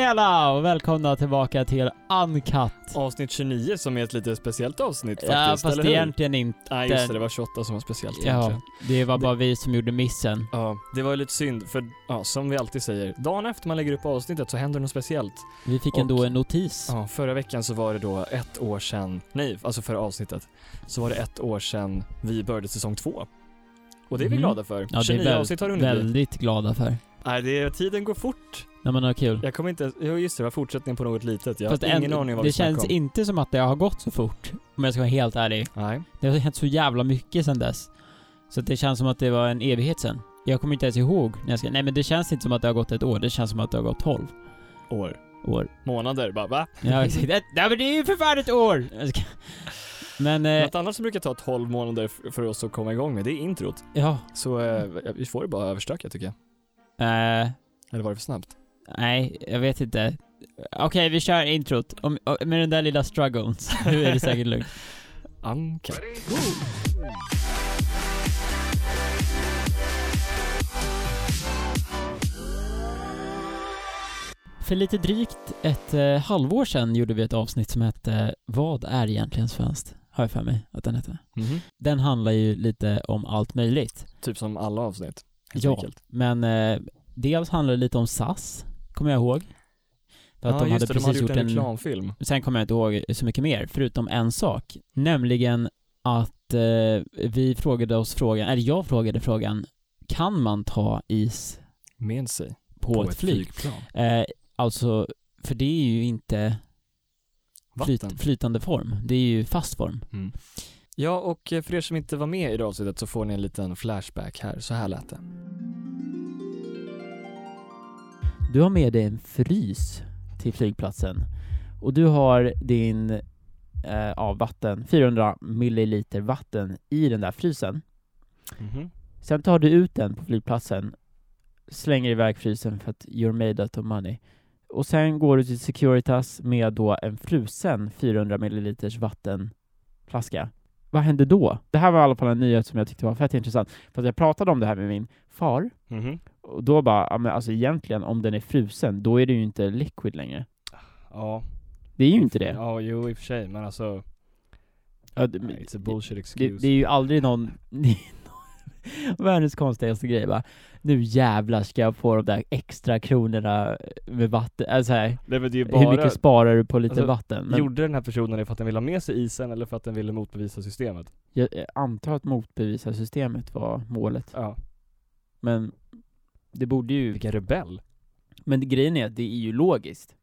Hela och välkomna tillbaka till Uncut. Avsnitt 29 som är ett lite speciellt avsnitt ja, faktiskt, fast eller hur? egentligen inte. Nej just det, det var 28 som var speciellt Ja, egentligen. det var Det- bara vi som gjorde missen. Ja, det var ju lite synd för, ja, som vi alltid säger, dagen efter man lägger upp avsnittet så händer något speciellt. Vi fick Och- ändå en notis. Ja, förra veckan så var det då ett år sedan, nej, alltså förra avsnittet, så var det ett år sedan vi började säsong två. Och det är vi Mhm. glada för. Ja, det 29 är avsnitt har det väl, hunnit bli. väldigt glada för. Nej, det är, tiden går fort. När man har kul. Jag kommer inte, jo just det, det var fortsättningen på något litet. Jag Fast har ingen en- aning vad det vi snackar känns om. inte som att det har gått så fort. Om jag ska vara helt ärlig. Nej. Det har hänt så jävla mycket sedan dess. Så att det känns som att det var en evighet sedan. Jag kommer inte ens ihåg när jag ska... Nej men det känns inte som att det har gått ett år. Det känns som att det har gått 12 År. år. Månader, bara va? Ja, exakt. Det- Nej men det är ju för fan ett år! Jag ska- Men, eh, Något annat som brukar ta 12 månader f- för oss att komma igång med, det är introt. ja. Så eh, Mm. vi får det bara överstökat tycker jag. Eh, Eller var det för snabbt? nej, jag vet inte. Okej, vi kör introt. Om, om- med den där lilla struggeln. Nu är det säkert lugnt. Anka. För lite drygt ett eh, halvår sedan gjorde vi ett avsnitt som hette Vad är egentligen svenskt? Har jag för mig att den hette. Den handlar ju lite om allt möjligt. Mm-hmm. Typ som alla avsnitt. helt Ja, enkelt. men eh, dels handlar det lite om SAS, kommer jag ihåg. För Ja, att de hade just det, precis de hade gjort en... reklamfilm. Sen kommer jag inte ihåg så mycket mer, förutom en sak. Nämligen att eh, vi frågade oss frågan, eller jag frågade frågan, kan man ta is Med sig. på, ett flyg? flygplan. Eh, alltså, för det är ju inte Vatten. flyt, flytande form, det är ju fast form. Ja, och eh, för er som inte var med i det avsnittet så får ni en liten flashback här. Så här lät det. Du har med dig en frys till flygplatsen och du har din eh, ja, vatten, 400 milliliter vatten i den där frysen. Mm-hmm. Sen tar du ut den på flygplatsen, slänger iväg frysen för att you're made out of money. Och sen går du till Securitas med då en frusen 400 ml vattenflaska. Vad händer då? Det här var i alla fall en nyhet som jag tyckte var fett intressant. För att jag pratade om det här med min far, Mm-hmm. och då bara, ja, men alltså egentligen om den är frusen, då är det ju inte liquid längre. Ja. Det är ju inte det. Ja, jo i och för sig, men alltså. Ja, det, It's a bullshit det, excuse. det är ju aldrig någon... Världens konstigaste grej bara. Nu jävlar ska jag få de där extra kronorna med vatten, alltså här, Nej, men det är ju hur mycket sparar du på lite Alltså, vatten? Men Gjorde den här personen det för att den ville ha med sig isen eller för att den ville motbevisa systemet? Jag antar att motbevisa systemet var målet, Ja. men det borde ju... Vilken rebell. Men grejen är att det är ju logiskt.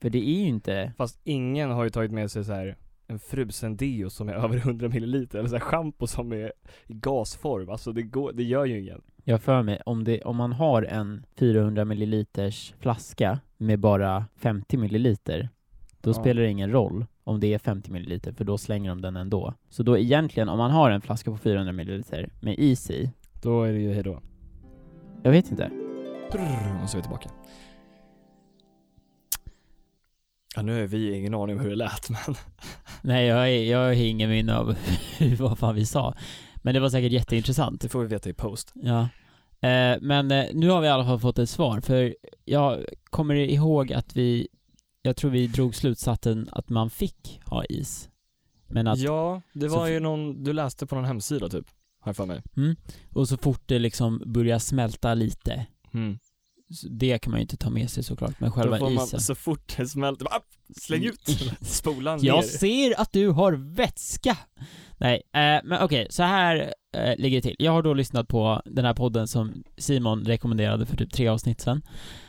För det är ju inte... Fast ingen har ju tagit med sig så här en frusen deo som är över 100 milliliter eller så här shampoo som är i gasform. Alltså det, går, det gör ju ingen. Jag har för mig, om, det, om man har en 400 milliliters flaska med bara 50 milliliter, då Ja. spelar det ingen roll om det är 50 milliliter, för då slänger de den ändå. Så då egentligen, om man har en flaska på 400 milliliter med is i, Då är det ju hejdå. jag vet inte. Brrr, Och så är vi tillbaka. Ja nu har vi ingen aning om hur det lät men. Nej, jag, är- jag har ingen minne av vad fan vi sa. Men det var säkert jätteintressant. Det får vi veta i post. Ja. Eh, men eh, nu har vi i alla fall fått ett svar, för jag kommer ihåg att vi, jag tror vi drog slutsatsen att man fick ha is. Men att Ja, det Så var f- ju någon, du läste på någon hemsida typ. Har jag för mig. Och så fort det liksom börjar smälta lite, Mm. så det kan man ju inte ta med sig såklart, men Då själva får man Mm. isen. så fort det smälter, bara, "App, släng ut! Spolan ner. Jag ser att du har vätska! Nej, eh, men okej, så här eh, ligger det till. Jag har då lyssnat på den här podden som Simon rekommenderade för typ tre avsnitt sedan.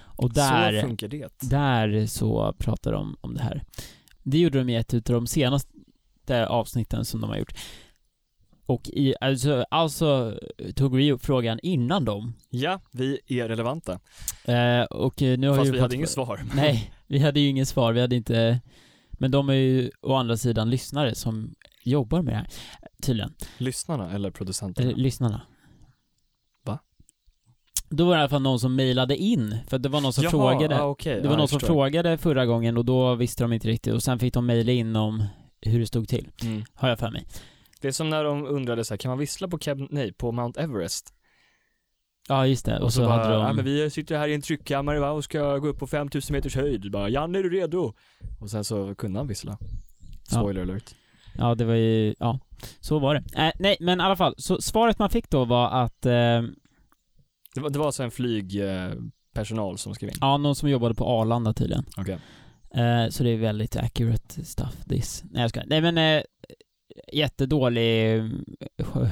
Och där... Så funkar det. Där så pratar de om det här. Det gjorde de i ett utav de senaste avsnitten som de har gjort. Och i, alltså, alltså tog vi upp frågan innan dem. Ja, vi är relevanta. Eh, och eh, nu har Fast ju vi fått- hade inget svar. Nej, vi hade ju inget svar, vi hade inte... Men de är ju å andra sidan lyssnare som jobbar med det här, tydligen. Lyssnarna eller producenterna? Eller lyssnarna. Va? Då var det i alla fall någon som mejlade in, för det var någon som Jaha, frågade. ah, okej. Det var Ja, någon jag som förstår. frågade förra gången och då visste de inte riktigt och sen fick de mejla in om hur det stod till, Mm. har jag för mig. Det är som när de undrade så här, kan man vissla på, Keb- nej, på Mount Everest? Ja just det, och, så, bara, hade de... ja, men vi sitter här i en tryckkammare va, och ska gå upp på 5000 meters höjd. Bara, Janne är du redo? Och sen så kunde han vissla. Ja. Spoiler alert. Ja, det var ju, ja. Så var det. Eh, nej, men i alla fall. Så svaret man fick då var att, eh, Det var, det var alltså en flygpersonal som skrev in. ja, någon som jobbade på Arlanda tydligen. Okej. Eh, så det är väldigt accurate stuff this. Nej, jag skojar. Nej, men eh, jättedålig eh,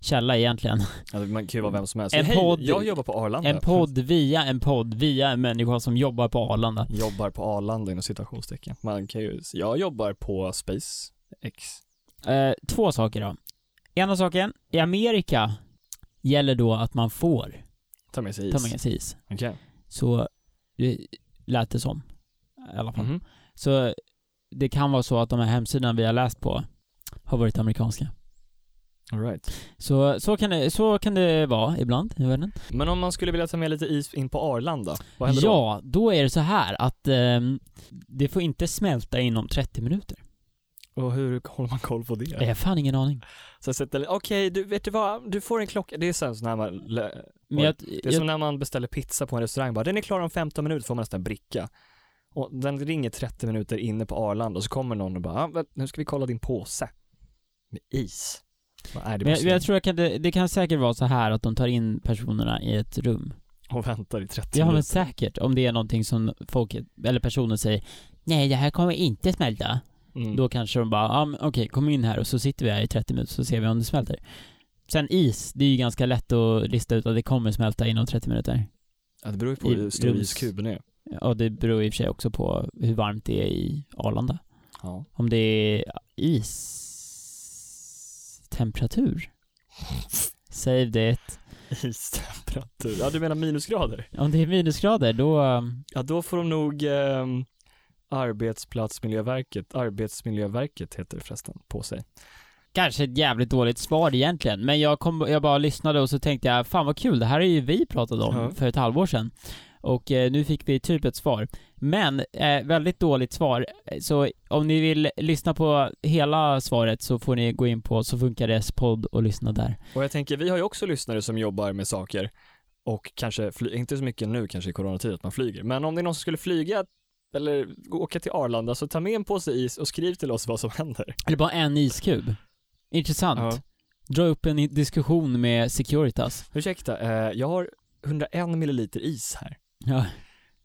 källa egentligen. Alltså, man kan ju vara vem som helst. En Hej, podd- jag jobbar på Arlanda. En podd via en podd via en människa som jobbar på Arlanda. Jobbar på Arlanda inom citationstecken. Man kan ju, jag jobbar på Space X. Eh, två saker då. Ena saken, i Amerika gäller då att man får Ta med sig is. ta med sig is. Okej. Så det lät det som. I alla fall. Mhm. Så det kan vara så att de här hemsidorna vi har läst på har varit amerikanska. All right. Så, så, kan, det, så kan det vara ibland, jag vet inte. Men om man skulle vilja ta med lite is in på Arlanda, vad händer då? Ja, då är det så här att ehm, det får inte smälta inom 30 minuter. Och hur håller man koll på det? Jag har fan ingen aning. Så jag sätter, okej, du vet du vad, du får en klocka. Det är så här när man, lä- Men jag, det är som jag, när man beställer pizza på en restaurang, bara den är klar om 15 minuter, får man nästan en bricka. Och den ringer 30 minuter inne på Arlanda och så kommer någon och bara, ah, vänt, nu ska vi kolla din påse. Med is. Vad är det men jag, måste jag tror jag kan, det, det kan säkert vara så här att de tar in personerna i ett rum. Och väntar i 30 Ja men minuter. säkert, om det är någonting som folk, eller personen säger Nej det här kommer inte smälta. Mm. Då kanske de bara, ja men okej, kom in här och så sitter vi här i 30 minuter så ser vi om det smälter. Sen is, det är ju ganska lätt att lista ut att det kommer smälta inom 30 minuter. ja, det beror ju på hur i stor rums- iskuben är. Och det beror i och för sig också på hur varmt det är i Arlanda. Ja. Om det är istemperatur. Save det. Istemperatur. Ja, du menar minusgrader? Om det är minusgrader då, um, Ja, då får de nog ehm, Arbetsplatsmiljöverket, Arbetsmiljöverket heter det förresten, på sig. kanske ett jävligt dåligt svar egentligen. Men jag, kom, jag bara lyssnade och så tänkte jag, fan vad kul, det här är ju vi pratat om Ja. för ett halvår sedan. Och eh, nu fick vi typ ett svar. Men eh, väldigt dåligt svar. Så om ni vill lyssna på hela svaret så får ni gå in på Så funkar det podd och lyssna där. Och jag tänker, vi har ju också lyssnare som jobbar med saker och kanske, fly- inte så mycket nu kanske i coronatid att man flyger, men om det är någon som skulle flyga eller åka till Arlanda så ta med en påse is och skriv till oss vad som händer. Eller bara en iskub. Intressant. Ja. Dra upp en i- diskussion med Securitas. Ursäkta, eh, jag har 101 milliliter is här. Ja.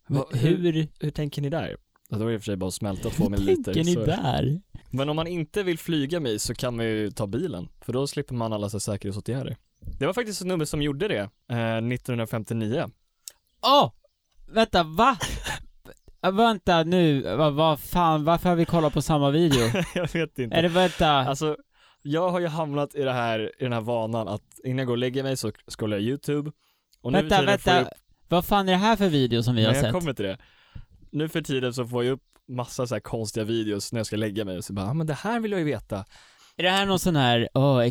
Va- hur, Hur tänker ni där? Ja, då är det i och för sig bara att smälta två hur milliliter. tänker ni så- där? Men om man inte vill flyga med is så kan man ju ta bilen, för då slipper man alla så här säkerhetsåtgärder. Det var faktiskt ett nummer som gjorde det, eh, 1959. Åh! vänta, va? Äh, Vänta nu, vad va fan, varför har vi kollat på samma video? jag vet inte. Eller vänta, Alltså, jag har ju hamnat i, det här, i den här vanan att innan jag går och lägger mig så scrollar jag YouTube och nu vänta, för tiden får jag vänta. Vad fan är det här för video som vi upp, har nej, jag sett? kommer till det. Nu för tiden så får jag upp massa så här konstiga videos när jag ska lägga mig och så bara, ah, men det här vill jag ju veta. Är det här någon sån här, oh,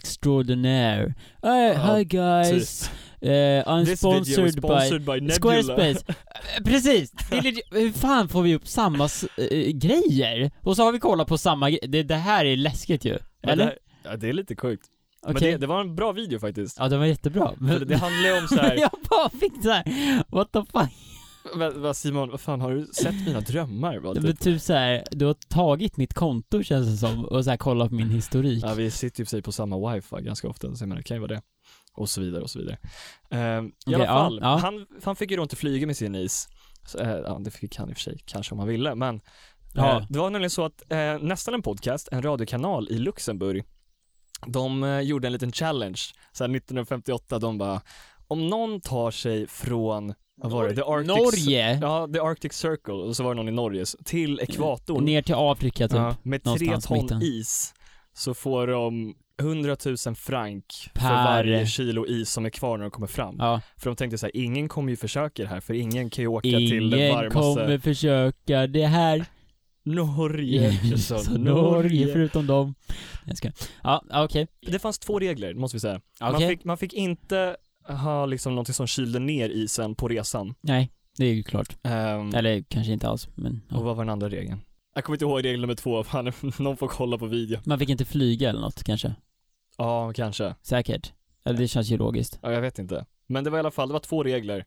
extraordinaire? Hey, Ja, hi guys, uh, I'm This video is sponsored by... sponsored by, Nebula. Squarespace. Eh, Precis! Det är lite- Hur fan får vi upp samma s- eh, grejer? Och så har vi kollat på samma gre- det, det här är läskigt ju. Ja, det, Eller? här, ja, det är lite sjukt. Okej. Men det, det var en bra video faktiskt. Ja, det var jättebra. För det, det handlar ju om så här, jag bara fick så här. what the fuck? vad, vad Simon, vad fan har du sett mina drömmar? Vad, Det blir typ? typ så här. du har tagit mitt konto känns det som och så här kollat på min historik. Ja, vi sitter ju i och för sig på samma wifi ganska ofta, så jag menar, det kan ju vara det. Och så vidare och så vidare. Ehm, I Okej, alla ja, fall, ja. Han, han fick ju då inte flyga med sin is. Så, eh, ja, det fick han i och för sig, kanske om han ville, men Ja. eh, det var nämligen så att eh, nästan en podcast, en radiokanal i Luxemburg, de eh, gjorde en liten challenge, så här 1958, de bara, om någon tar sig från, vad var det, the Arctic, Norge, Ja, the Arctic Circle, och så var det någon i Norge, till ekvatorn, ner till Afrika typ. Ja, med tre någonstans ton mitten. is så får de 100 000 frank för Per- varje kilo is som är kvar när de kommer fram. Ja. För de tänkte så här, ingen kommer ju försöka det här för ingen kan ju åka till den Ingen varmaste kommer försöka det här. Norge. Så, Så Norge Norge. förutom dem. Jag ska. Ja, ja, okej. Det fanns två regler, måste vi säga. Man, Okej. fick, man fick inte ha liksom någonting som kylde ner isen på resan. Nej, det är ju klart. Ehm, Eller kanske inte alls, men och ja. vad var den andra regeln? Jag kommer inte ihåg regel nummer två, fan, någon får kolla på video. Man fick inte flyga eller något kanske. Ja, kanske. Säkert. Eller det känns ju logiskt. Ja, jag vet inte. Men det var i alla fall, det var två regler.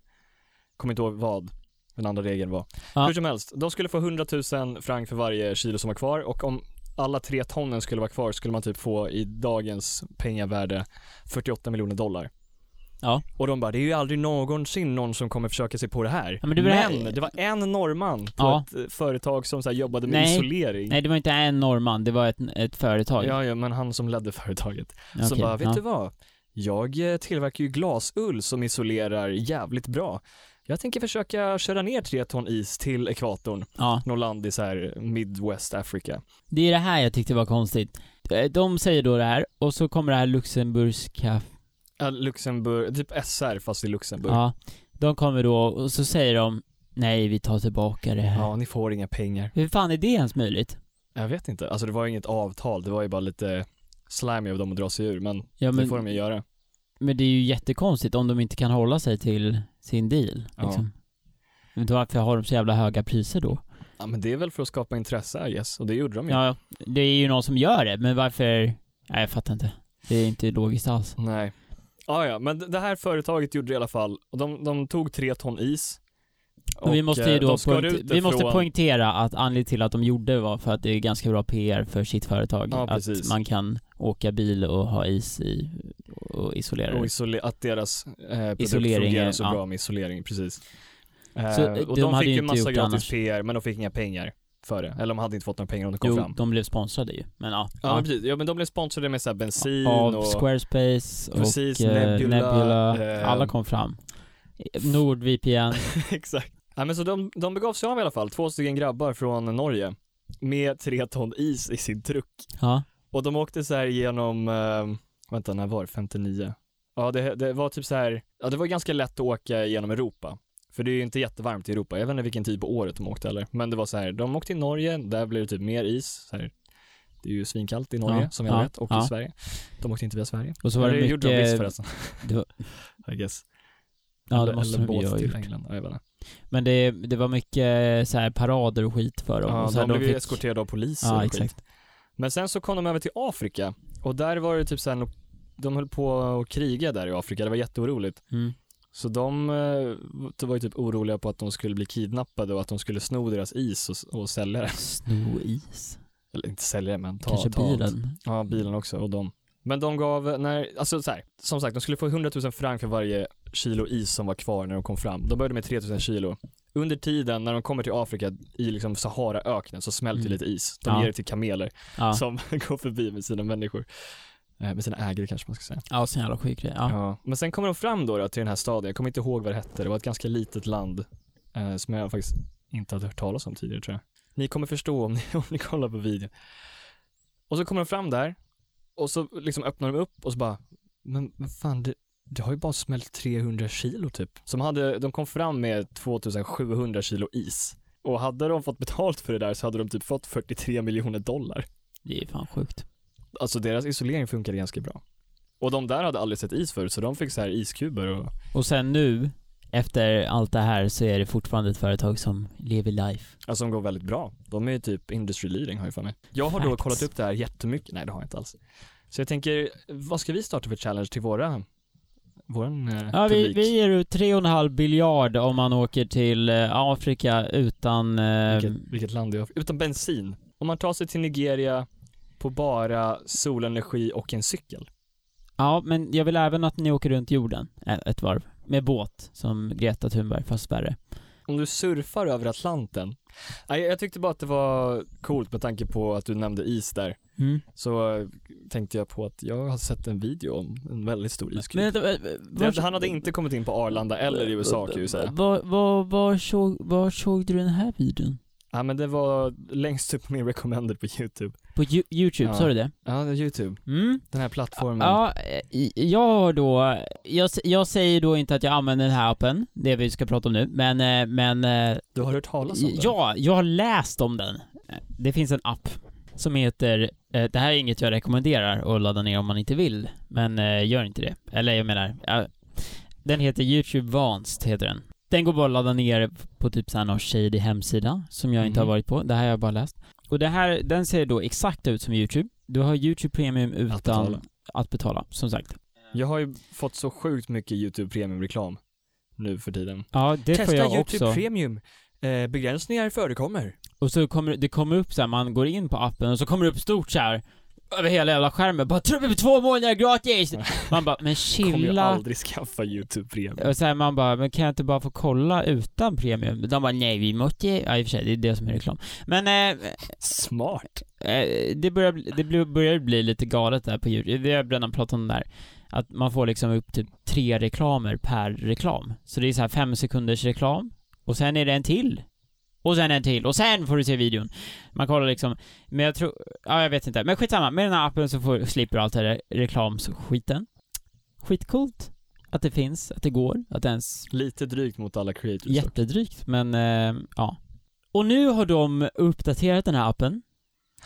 Kommer inte ihåg vad den andra regeln var. Ja. Hur som helst, de skulle få 100 000 frank för varje kilo som var kvar och om alla tre tonnen skulle vara kvar skulle man typ få i dagens pengavärde 48 miljoner dollar. Ja. Och de bara, det är ju aldrig någonsin någon som kommer försöka sig på det här. Ja, men det var det här- det var en norrman på Ja. ett eh, företag som så här jobbade med Nej. isolering. Nej, det var inte en norrman, det var ett, ett företag. Mm. Ja, ja, men han som ledde företaget. Okej, Som bara, vet ja. du vad? Jag eh, tillverkar ju glasull som isolerar jävligt bra. Jag tänker försöka köra ner tre ton is till ekvatorn, Ja. något land i så här eh, Midwest Africa. Det är det här jag tyckte var konstigt. Eh, De säger då det här, och så kommer det här Luxemburgska... Ja, Luxemburg, typ SR fast i Luxemburg. Ja. Ja. De kommer då, och så säger de Nej, vi tar tillbaka det här. ni får inga pengar. Hur fan är det ens möjligt? Jag vet inte, alltså det var ju inget avtal, det var ju bara lite slimy av dem att dra sig ur, men, Ja, det men, får de ju göra. men det är ju jättekonstigt om de inte kan hålla sig till sin deal. Ja. Liksom. Men då varför har de så jävla höga priser då? Ja, men det är väl för att skapa intresse, yes, och det gjorde de ju. Ja, det är ju någon som gör det, men varför? Nej, jag fattar inte. Det är inte logiskt alls. Nej. Ah, ja, men d- det här företaget gjorde det i alla fall, och de, de tog tre ton is. Och vi måste eh, ju de då skar poängte- ut det vi måste från- poängtera att anledningen till att de gjorde det var för att det är ganska bra PR för sitt företag. Ja, att precis. man kan åka bil och ha is i och isolera Och det. isole- att deras eh, produkt Isolering, fungerar så ja. bra med isolering, precis. Så, Eh, och de de, hade fick ju ju inte gjort massa det gratis annars. PR, men de fick inga pengar för det. Eller de hade inte fått några pengar om det kom Jo, fram. de blev sponsrade ju, men ja. Ja, men precis. Ja, men de blev sponsrade med så här bensin Av och... Squarespace och Precis, eh, Nebula, Nebula. eh, alla kom fram. NordVPN. Exakt. Ja, men så de, de begav sig av i alla fall, två stycken grabbar från Norge. Med tre ton is i sin truck. ja. Och de åkte så här genom, eh, vänta när var det? 59? Ja det, det var typ så här, ja det var ganska lätt att åka genom Europa. För det är ju inte jättevarmt i Europa, jag vet inte vilken tid på året de åkte eller. Men det var så här, de åkte till Norge, där blev det typ mer is. Så här. Det är ju svinkallt i Norge Ja, som jag ja, vet, och ja. i Sverige. De åkte inte via Sverige. Och så var Eller det det gjorde de visst mycket... förresten. det var- I guess. ja, eller, det måste eller de ju båt ha till gjort. England, ja, jag vet inte. Men det, det var mycket så här parader och skit för dem. Ja, och så här, de blev ju fick- eskorterade av poliser Ja, och skit. exakt. Men sen så kom de över till Afrika och där var det typ så här, de höll på att kriga där i Afrika, det var jätteoroligt. Mm. Så de, eh, de var ju typ oroliga på att de skulle bli kidnappade och att de skulle sno deras is och, och sälja det. Sno is. Eller inte sälja det men ta, Kanske ta allt. bilen. Ja, bilen också och de. Men de gav, när, alltså så här, som sagt de skulle få 100 000 frank för varje kilo is som var kvar när de kom fram. De började med 3 000 kilo. Under tiden när de kommer till Afrika i liksom Saharaöknen så smälter Mm. lite is. De Ja. ger det till kameler Ja, som går förbi med sina människor. Eh, Med sina ägare kanske man ska säga. ja sån jävla sjuk grej. Ja. Ja. Men sen kommer de fram då, då till den här staden, jag kommer inte ihåg vad det hette, det var ett ganska litet land eh, som jag faktiskt inte hade hört talas om tidigare tror jag. Ni kommer förstå om ni, om ni kollar på videon. Och så kommer de fram där och så liksom öppnar de upp och så bara, men vad fan det, det har ju bara smält 300 kilo typ. Som hade, de kom fram med 2700 kilo is. Och hade de fått betalt för det där så hade de typ fått 43 miljoner dollar Det är fan sjukt. alltså deras isolering funkade ganska bra. Och de där hade aldrig sett is förut, så de fick så här iskuber och Och sen nu, efter allt det här, så är det fortfarande ett företag som lever life. alltså de går väldigt bra. De är ju typ industry leading har jag för mig. Jag har då Facts. kollat upp det här jättemycket, nej det har jag inte alls. Så jag tänker, vad ska vi starta för challenge till våra, våran eh, Ja, vi, publik? vi ger ut 3,5 biljard om man åker till eh, Afrika utan... eh, Vilket, vilket land det är. Utan bensin. Om man tar sig till Nigeria på bara solenergi och en cykel. Ja, men jag vill även att ni åker runt jorden eh, ett varv. Med båt, som Greta Thunberg, fast värre. Om du surfar över Atlanten. Nej, jag tyckte bara att det var coolt med tanke på att du nämnde is där. Mm. så eh, tänkte jag på att jag har sett en video om en väldigt stor iskub. Men, eh, eh, Det- vars- eh, han hade inte kommit in på Arlanda eller i USA kan jag ju säga. Var, var, var, såg, var såg du den här videon? Ja men det var längst upp på min recommended på YouTube. På Yo- Youtube, Ja. sa du det? Ja, det är YouTube. Mm. Den här plattformen. Ja, eh, i- jag har då, jag, s- jag säger då inte att jag använder den här appen, det vi ska prata om nu, men, eh, men eh, Du har hört talas om den? ja, jag har läst om den. Eh, Det finns en app som heter, eh, det här är inget jag rekommenderar att ladda ner om man inte vill, men eh, gör inte det. Eller jag menar, eh, den heter YouTube Vanced, heter den. Den går bara att ladda ner på typ såhär någon shady hemsida, som jag inte har Mhm. varit på, det här har jag bara läst. Och det här, den ser då exakt ut som YouTube. Du har YouTube Premium Att betala. utan att betala, som sagt. Jag har ju fått så sjukt mycket YouTube Premium-reklam nu för tiden. Ja, det får jag också. Premium. Eh, begränsningar förekommer. Och så kommer det kommer upp så här, man går in på appen och så kommer det upp stort så här över hela jävla skärmen bara "Tror du på två månader gratis! Man bara, men Kommer jag chilla. aldrig skaffa YouTube Premium. Och så här, man bara, men kan jag inte bara få kolla utan premium? De bara, nej vi måste, ja i och för sig, det är det som är reklam. Men eh, Smart. Eh, det börjar, bli- det bli- börjar bli lite galet där på Youtube. Vi har redan pratat om det där. Att man får liksom upp typ tre reklamer per reklam. Så det är så här fem sekunders reklam. Och sen är det en till. Och sen en till. Och sen får du se videon. Man kollar liksom. Men jag tror, ja jag vet inte. Men skitsamma. Med den här appen så får, slipper du allt det där reklamsskiten. Skitcoolt. Att det finns, att det går, att det ens Lite drygt mot alla creators dock. Jättedrygt, men eh, ja. Och nu har de uppdaterat den här appen.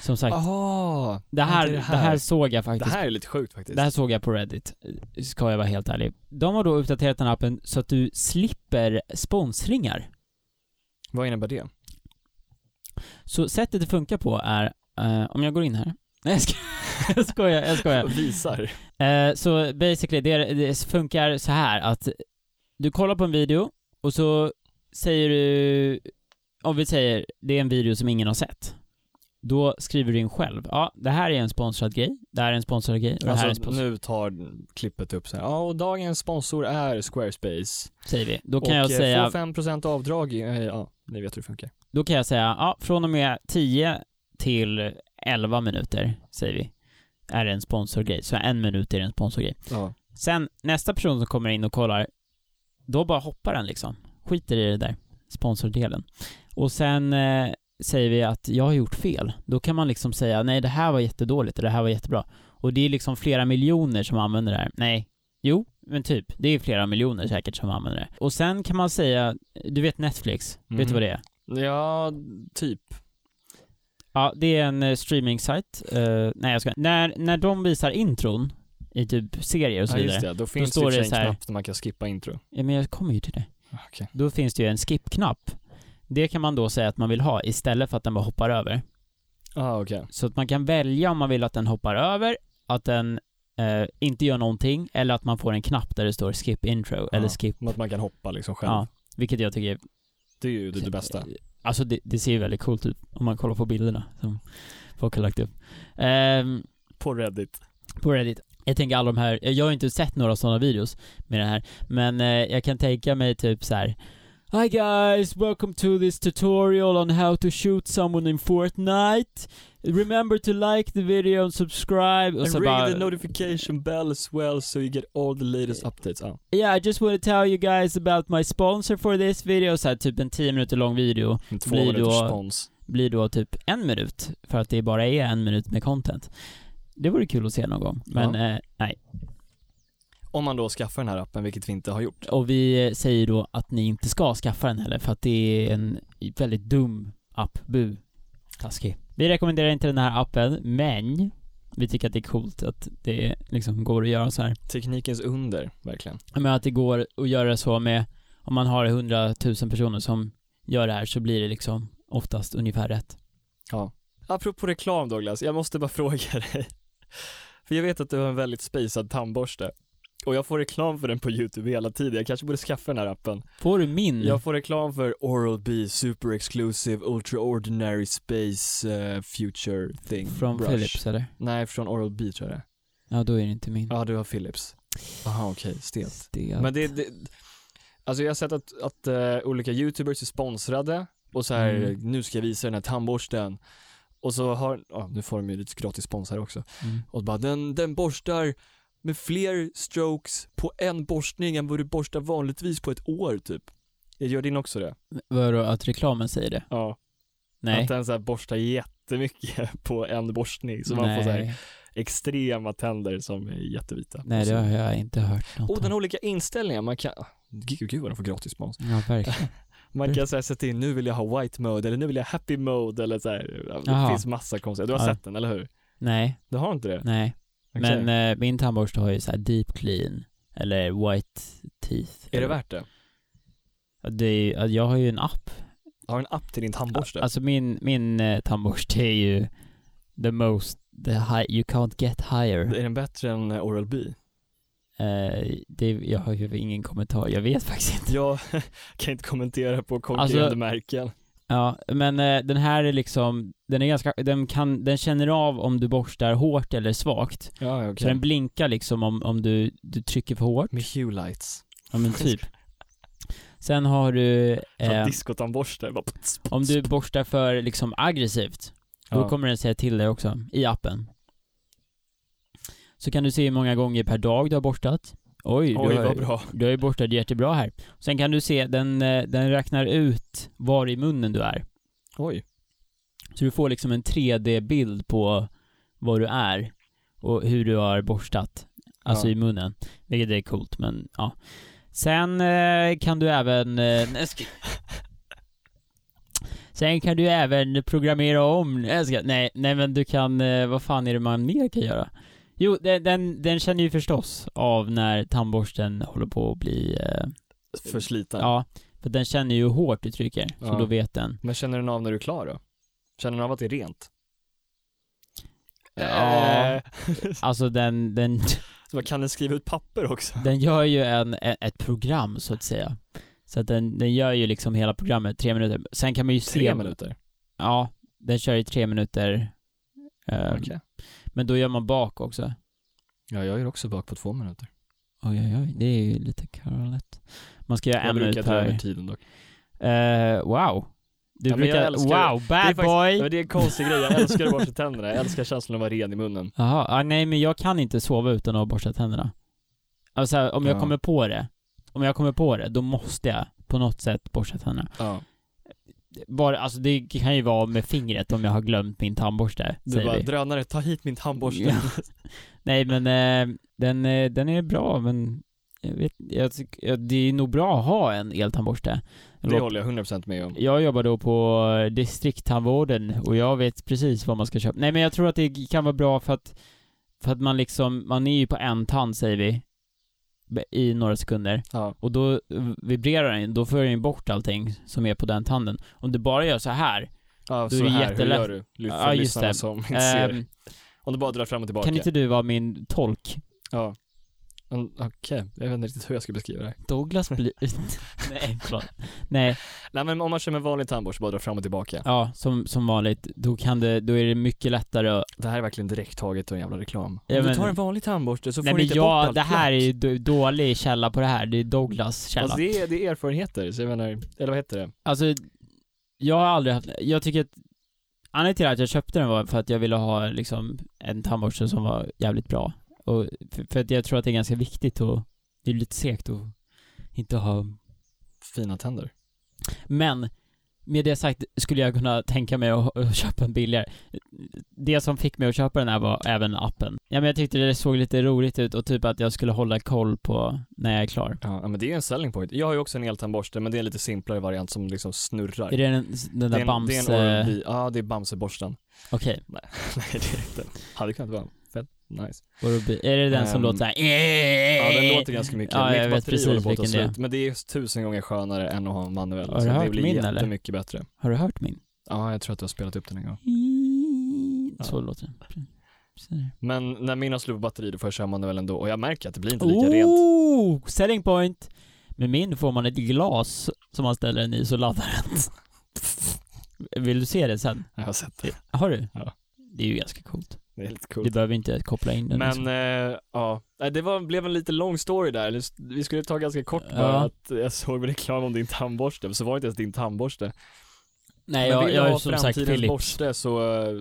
Som sagt, Aha. det, här, det är det, det här. här. såg jag Det faktiskt. Det här, här är lite sjukt faktiskt. såg jag på Reddit, ska jag vara helt ärlig. De har då uppdaterat den här appen så att du slipper sponsringar. Vad innebär det? Så sättet det funkar på är, eh, om jag går in här. Nej jag, ska, jag skojar, jag skojar. Visar. Eh, så basically, det, det funkar så här att du kollar på en video och så säger du, om vi säger det är en video som ingen har sett. Då skriver du in själv, ja det här är en sponsrad grej, det här är en sponsrad grej, och det här är en Alltså, sponsrad nu tar klippet upp så här. Ja, och dagens sponsor är Squarespace. säger vi. Då och kan jag eh, säga, få 5% avdrag. i- eh, Ja, ni vet hur det funkar. då kan jag säga, ja från och med 10 till 11 minuter, säger vi, är det en sponsrad grej. Så en minut är det en sponsrad grej. Ja. Sen nästa person som kommer in och kollar, då bara hoppar den liksom. Skiter i det där, sponsordelen. Och sen eh, säger vi att jag har gjort fel. Då kan man liksom säga nej det här var jättedåligt och det här var jättebra. Och det är liksom flera miljoner som använder det här. Nej, jo, men typ. Det är flera miljoner säkert som använder det. Och sen kan man säga, du vet Netflix, vet Mhm. du vad det är? Ja, typ. Ja, det är en eh, streaming-sajt. Eh, nej jag ska när, när de visar intron i typ serier och så Ja, vidare. just det. Då finns står det, det det en så här- knapp där man kan skippa intro. Ja, men jag kommer ju till det. Ah, Okej. Då finns det ju en skip-knapp. Det kan man då säga att man vill ha istället för att den bara hoppar över. Ah, okej. Så att man kan välja om man vill att den hoppar över, att den eh, inte gör någonting, eller att man får en knapp där det står skip intro eller Ja, skip, Att man kan hoppa liksom själv. ja, vilket jag tycker är, Det är ju det, det bästa. alltså det, det ser ju väldigt coolt ut om man kollar på bilderna som folk har lagt upp. Ehm, På Reddit. på Reddit. Jag tänker alla de här, jag har ju inte sett några sådana videos med den här, men eh, jag kan tänka mig typ så här. Hi guys, welcome to this tutorial on how to shoot someone in Fortnite. Remember to like the video and subscribe. Och så And bara, ring the notification bell as well so you get all the latest updates. Ja. yeah, I just want to tell you guys about my sponsor for this video. Så här, typ en 10 minuter lång video. En Två Blir minuters då- spons. blir då typ en minut, för att det bara är en minut med content. Det vore kul att se någon gång, men eh, nej. Om man då skaffar den här appen, vilket vi inte har gjort. Och vi säger då att ni inte ska skaffa den heller, för att det är en väldigt dum app. Bu. Taskig. Vi rekommenderar inte den här appen, men vi tycker att det är coolt att det liksom går att göra så här. Teknikens under, verkligen. Men att det går att göra så med, om man har 100 000 personer som gör det här så blir det liksom oftast ungefär rätt. Apropå reklam Douglas, jag måste bara fråga dig. För jag vet att du har en väldigt spejsad tandborste. Och jag får reklam för den på YouTube hela tiden. Jag kanske borde skaffa den här appen. Får du min? Jag får reklam för Oral-B Super Exclusive Ultra Ordinary Space eh, Future Thing. Från Brush. Philips eller? Nej, från Oral-B tror jag det är. Ja, då är det inte min. Ja, du har Philips. Aha, okej, stelt. Stelt. Men det, det alltså jag har sett att, att eh, olika youtubers är sponsrade och så här, Mm. nu ska jag visa den här tandborsten. Och så har, ja nu får de ju lite gratis spons här också. Mm. Och bara, den, den borstar med fler strokes på en borstning än vad du borstar vanligtvis på ett år typ. Jag gör din också det? Vadå, att reklamen säger det? Ja. Nej. Att den så här borstar jättemycket på en borstning. Så man får så här Nej. extrema tänder som är jättevita. Nej, Och så- det har jag inte hört något Och Oh, den om. har olika inställningar, man kan, gud, gud vad de får gratis spons. Ja, verkligen. Man kan så här sätta in, nu vill jag ha white mode eller nu vill jag happy mode eller så här. Det Jaha. finns massa konstiga, du har Ja. sett den eller hur? Nej, Du har inte det? nej. Okej. Men eh, min tandborste har ju så här deep clean, eller white teeth. är det värt det? Ja, det är, ju- ja, jag har ju en app. Har du en app till din tandborste? Alltså min, min eh, tandborste är ju the most, the high, you can't get higher. eh, är den bättre än Oral-B? Eh, det, jag har ju ingen kommentar, jag vet faktiskt inte. Jag kan inte kommentera på konkurrerande Alltså- märken. Ja, men eh, den här är liksom, den är ganska, den kan, den känner av om du borstar hårt eller svagt. Ja, okej. Så den blinkar liksom om, om du, du trycker för hårt. Med Hue lights. Ja men typ. Sen har du, Från eh, diskotandborste. Bara... pts, om pts, du borstar för liksom aggressivt, då Ja. kommer den säga till dig också, i appen. Så kan du se hur många gånger per dag du har borstat. Oj, Oj, du, har, vad bra. du har ju borstat jättebra här. Sen kan du se, den, eh, den räknar ut var i munnen du är. Oj. Så du får liksom en 3D-bild på var du är och hur du har borstat, alltså Ja. i munnen. Vilket är coolt, men ja. Sen eh, kan du även... Eh, nej, jag ska- Sen kan du även programmera om... Nej, jag ska- Nej, nej men du kan... Eh, vad fan är det man mer kan göra? Jo, den, den, den känner ju förstås av när tandborsten håller på att bli... Eh, Försliten. ja, för den känner ju hur hårt du trycker, så Ja. då vet den. Men känner den av när du är klar då? Känner den av att det är rent? Ja. Eh, Alltså den, den, så man kan den skriva ut papper också? Den gör ju en, e- ett program så att säga. Så att den, den gör ju liksom hela programmet, tre minuter. Sen kan man ju se... Tre minuter? Ja, den kör i tre minuter. Ehm, Okej. Men då gör man bak också. Ja, jag är också bak på två minuter. Oj, oj, oj, det är ju lite karolet. Man ska göra Jag en brukar minut dra över per... tiden dock. Eh, wow. Du Ja, men jag brukar... älskar det. Wow, bad faktiskt- Ja, men boy! det är en konstig grej, jag älskar att borsta tänderna, jag älskar känslan av att vara ren i munnen. Jaha, ah, nej men jag kan inte sova utan att ha borstat tänderna. Alltså om jag Ja. kommer på det, om jag kommer på det, då måste jag på något sätt borsta tänderna. Ja. bara, alltså det kan ju vara med fingret om jag har glömt min tandborste, Du säger bara, vi. drönare, ta hit min tandborste. Ja. Nej men eh, den, eh, den är bra men jag vet, jag tyck, ja, det är nog bra att ha en eltandborste. Det håller jag 100% med om. Jag jobbar då på eh, distrikttandvården och jag vet precis vad man ska köpa. Nej men jag tror att det kan vara bra för att, för att man liksom, man är ju på en tand säger vi, i några sekunder. Ja. Och då vibrerar den, då för den ju bort allting som är på den tanden. Om du bara gör så här Ja, Du så är här, jättelätt. hur gör du? Lyft Ja, för just lyssnarna det. som inte ehm, ser. Om du bara drar fram och tillbaka. Kan inte du vara min tolk? Ja. Mm, Okej, jag vet inte riktigt hur jag ska beskriva det här. Douglas blir... Nej, förlåt. Nej, Nej men om man kör med vanlig tandborste, bara dra fram och tillbaka. ja, som, som vanligt. Då kan det, då är det mycket lättare att... Det här är verkligen direkt taget ur en jävla reklam. Ja, om du men- tar en vanlig tandborste så Nej får du men inte bort jag, allt det här är lack. ju då- dålig källa på det här. Det är Douglas källa. Alltså Alltså, det är, det är erfarenheter, så jag menar, eller vad heter det? jag har aldrig haft... Jag tycker att... Anledningen till att jag köpte den var för att jag ville ha liksom en tandborste som var jävligt bra. Och för, för att jag tror att det är ganska viktigt och det är lite segt att inte ha Fina tänder. Men med det sagt skulle jag kunna tänka mig att, att köpa en billigare. Det som fick mig att köpa den här var även appen. Ja men jag tyckte det såg lite roligt ut och typ att jag skulle hålla koll på när jag är klar. Ja, men det är en selling point. Jag har ju också en eltandborste, men det är en lite simplare variant som liksom snurrar. Är det den, den Det är där en- Bamse... Det är en Oral-B. Ja, det är Bamseborsten. Okej, Nej, det är inte. Hade kunnat vara. Fett nice. Oral-B. Är det den som Ehm, låter såhär... Ja, den låter ganska mycket. Eh. Ja, jag Mitt vet batteri håller precis på att ta vilken det är. slut. Men det är tusen gånger skönare än att ha en manuell. Har du så det hört blir min, eller? jättemycket bättre. Har du hört min? Ja, jag tror att du har spelat upp den en gång. Så låter den. Så där. Men när min har slut på batteri, då får jag köra manuell ändå. Och jag märker att det blir inte lika rent. Oh! Selling point! Med min får man ett glas som man ställer den i så laddar den. Vill du se det sen? Jag har sett det. Har du? Ja. Det är ju ganska coolt. Det är lite Du coolt. behöver inte koppla in den. liksom. Men eh, ja, Nej, det var, blev en lite lång story där. Vi skulle ta ganska kort bara Ja. att jag såg reklam om din tandborste, men så var det inte ens din tandborste. Nej, men jag, vill jag du är ha som sagt framtidens Philip. borste så eh,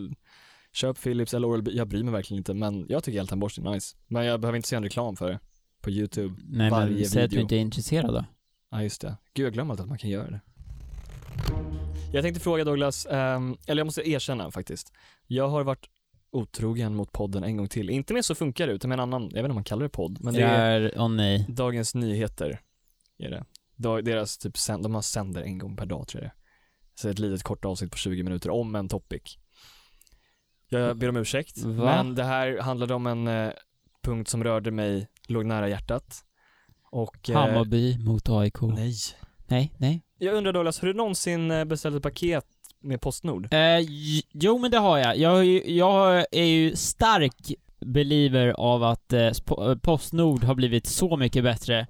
köp Philips eller Oral-B. Jag bryr mig verkligen inte men jag tycker eltandborste är nice. Men jag behöver inte se en reklam för det på YouTube. Nej men varje säg att du video. inte är intresserad då. Ja just det. Gud jag glömmer alltid att man kan göra det. Jag tänkte fråga Douglas, ehm, eller jag måste erkänna faktiskt. Jag har varit otrogen mot podden en gång till. Inte med Så funkar det utan med en annan, jag vet inte om man kallar det podd. Men det jag är är... Åh nej. Dagens Nyheter. Är det. Da- Deras typ, sänd- de har sänder en gång per dag tror jag det är. Så ett litet kort avsnitt på 20 minuter om en topic. Jag ber om ursäkt, Mm. Va? men det här handlade om en eh, punkt som rörde mig, låg nära hjärtat. Och... eh, Hammarby mot AIK. Nej, nej. nej. Jag undrar Douglas, har du någonsin eh, beställt ett paket med Postnord? Eh, j- jo men det har jag. Jag, har ju- jag har- är ju stark believer av att eh, Sp- eh, Postnord har blivit så mycket bättre.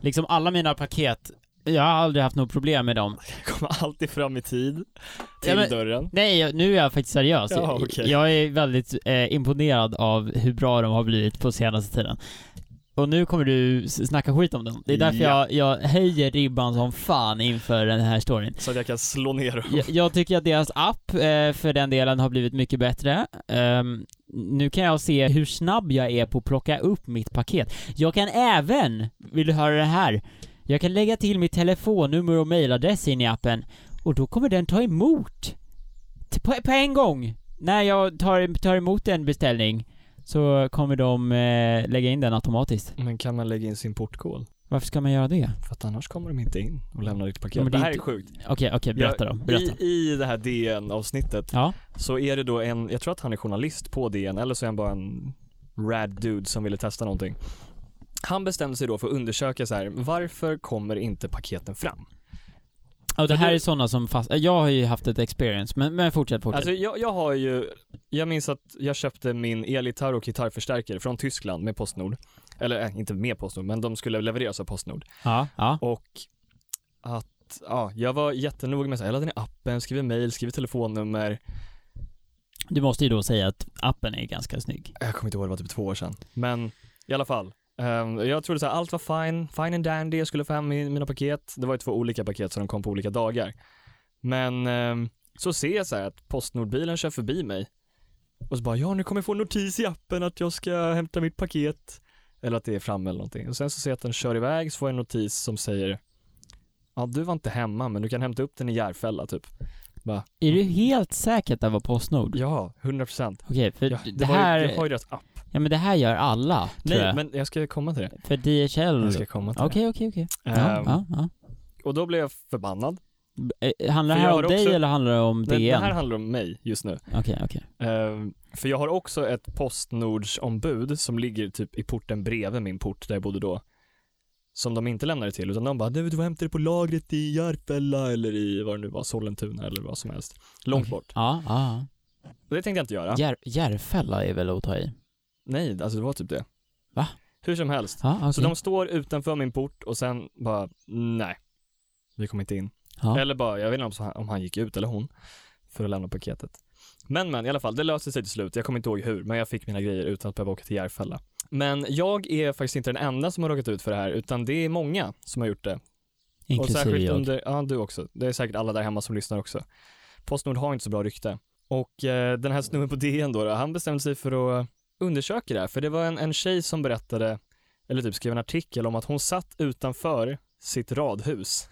Liksom alla mina paket, jag har aldrig haft något problem med dem. Kommer alltid fram i tid till Ja, men- dörren. Nej, jag- nu är jag faktiskt seriös. Ja, Jag- okej. Jag är väldigt eh, imponerad av hur bra de har blivit på senaste tiden. Och nu kommer du s- snacka skit om dem. Det är därför Ja. jag, jag höjer ribban som fan inför den här storyn. Så att jag kan slå ner dem. Jag, jag tycker att deras app, eh, för den delen, har blivit mycket bättre. Ehm, nu kan jag se hur snabb jag är på att plocka upp mitt paket. Jag kan även, vill du höra det här? Jag kan lägga till mitt telefonnummer och mailadress in i appen och då kommer den ta emot. T- På, på en gång! När jag tar, tar emot en beställning så kommer de eh, lägga in den automatiskt. Men kan man lägga in sin portkod? Varför ska man göra det? För att annars kommer de inte in och lämnar ditt paket. Ja, men det det, är här är inte- sjukt. Okej, okej, berätta då. Berätta. I, I det här DN-avsnittet Ja. så är det då en, jag tror att han är journalist på DN, eller så är han bara en rad dude som ville testa någonting. Han bestämde sig då för att undersöka så här, varför kommer inte paketen fram? Ja, det Så här det- är sådana som fast... eh, Jag har ju haft ett experience, men, men fortsätt, fortsätt. Alltså jag, jag har ju, jag minns att jag köpte min elgitarr och gitarrförstärkare från Tyskland med Postnord. Eller eh, inte med Postnord, men de skulle levereras av Postnord. ja, ja. Och att, ja, jag var jättenoga med att jag laddade ner appen, skriver mail, skriver telefonnummer. Du måste ju då säga att appen är ganska snygg. Jag kommer inte ihåg, det var typ två år sedan. Men i alla fall. ehm, jag trodde så här, allt var fine, fine and dandy, jag skulle få hem min- mina paket. Det var ju två olika paket så de kom på olika dagar. Men ehm, så ser jag så här att Postnordbilen kör förbi mig. Och så bara, ja nu kommer jag få en notis i appen att jag ska hämta mitt paket. Eller att det är framme eller någonting. Och sen så ser jag att den kör iväg, så får jag en notis som säger, ja du var inte hemma men du kan hämta upp den i Järfälla typ. Är du helt säker att det var Postnord? Ja, 100 procent. Okej, för Ja, det, det var ju- här... det var ju deras app. Ja men det här gör alla, tror Nej, jag. men jag ska komma till det. För DHL... Jag ska komma till det. Okej, okej, okej. Ja, Ehm, ja, ja. Och då blev jag förbannad. Eh, Handlar det för här jag om har dig också- eller handlar det om Det, det här DN? handlar om mig just nu. Okej, okej. Ehm, för jag har också ett Postnordsombud som ligger typ i porten bredvid min port där jag bodde då. Som de inte lämnade till utan de bara, "Nej, du får hämta det på lagret i Järfälla eller i vad det nu var, Sollentuna eller vad som helst. Långt Okej. bort. Ja, ja. Och det tänkte jag inte göra. Jär, Järfälla är väl att ta i? Nej, alltså det var typ det. Va? Hur som helst. Ja, okej. Så de står utanför min port och sen bara, nej, vi kommer inte in. Ja. Eller bara, jag vet inte om han, om han gick ut eller hon för att lämna paketet. Men men, i alla fall, det löste sig till slut. Jag kommer inte ihåg hur, men jag fick mina grejer utan att behöva åka till Järfälla. Men jag är faktiskt inte den enda som har råkat ut för det här, utan det är många som har gjort det. och Inklusive särskilt jag. under, ja du också. Det är säkert alla där hemma som lyssnar också. Postnord har inte så bra rykte. Och eh, den här snubben på DN då, då, han bestämde sig för att undersöka det här, för det var en, en tjej som berättade, eller typ skrev en artikel om att hon satt utanför sitt radhus.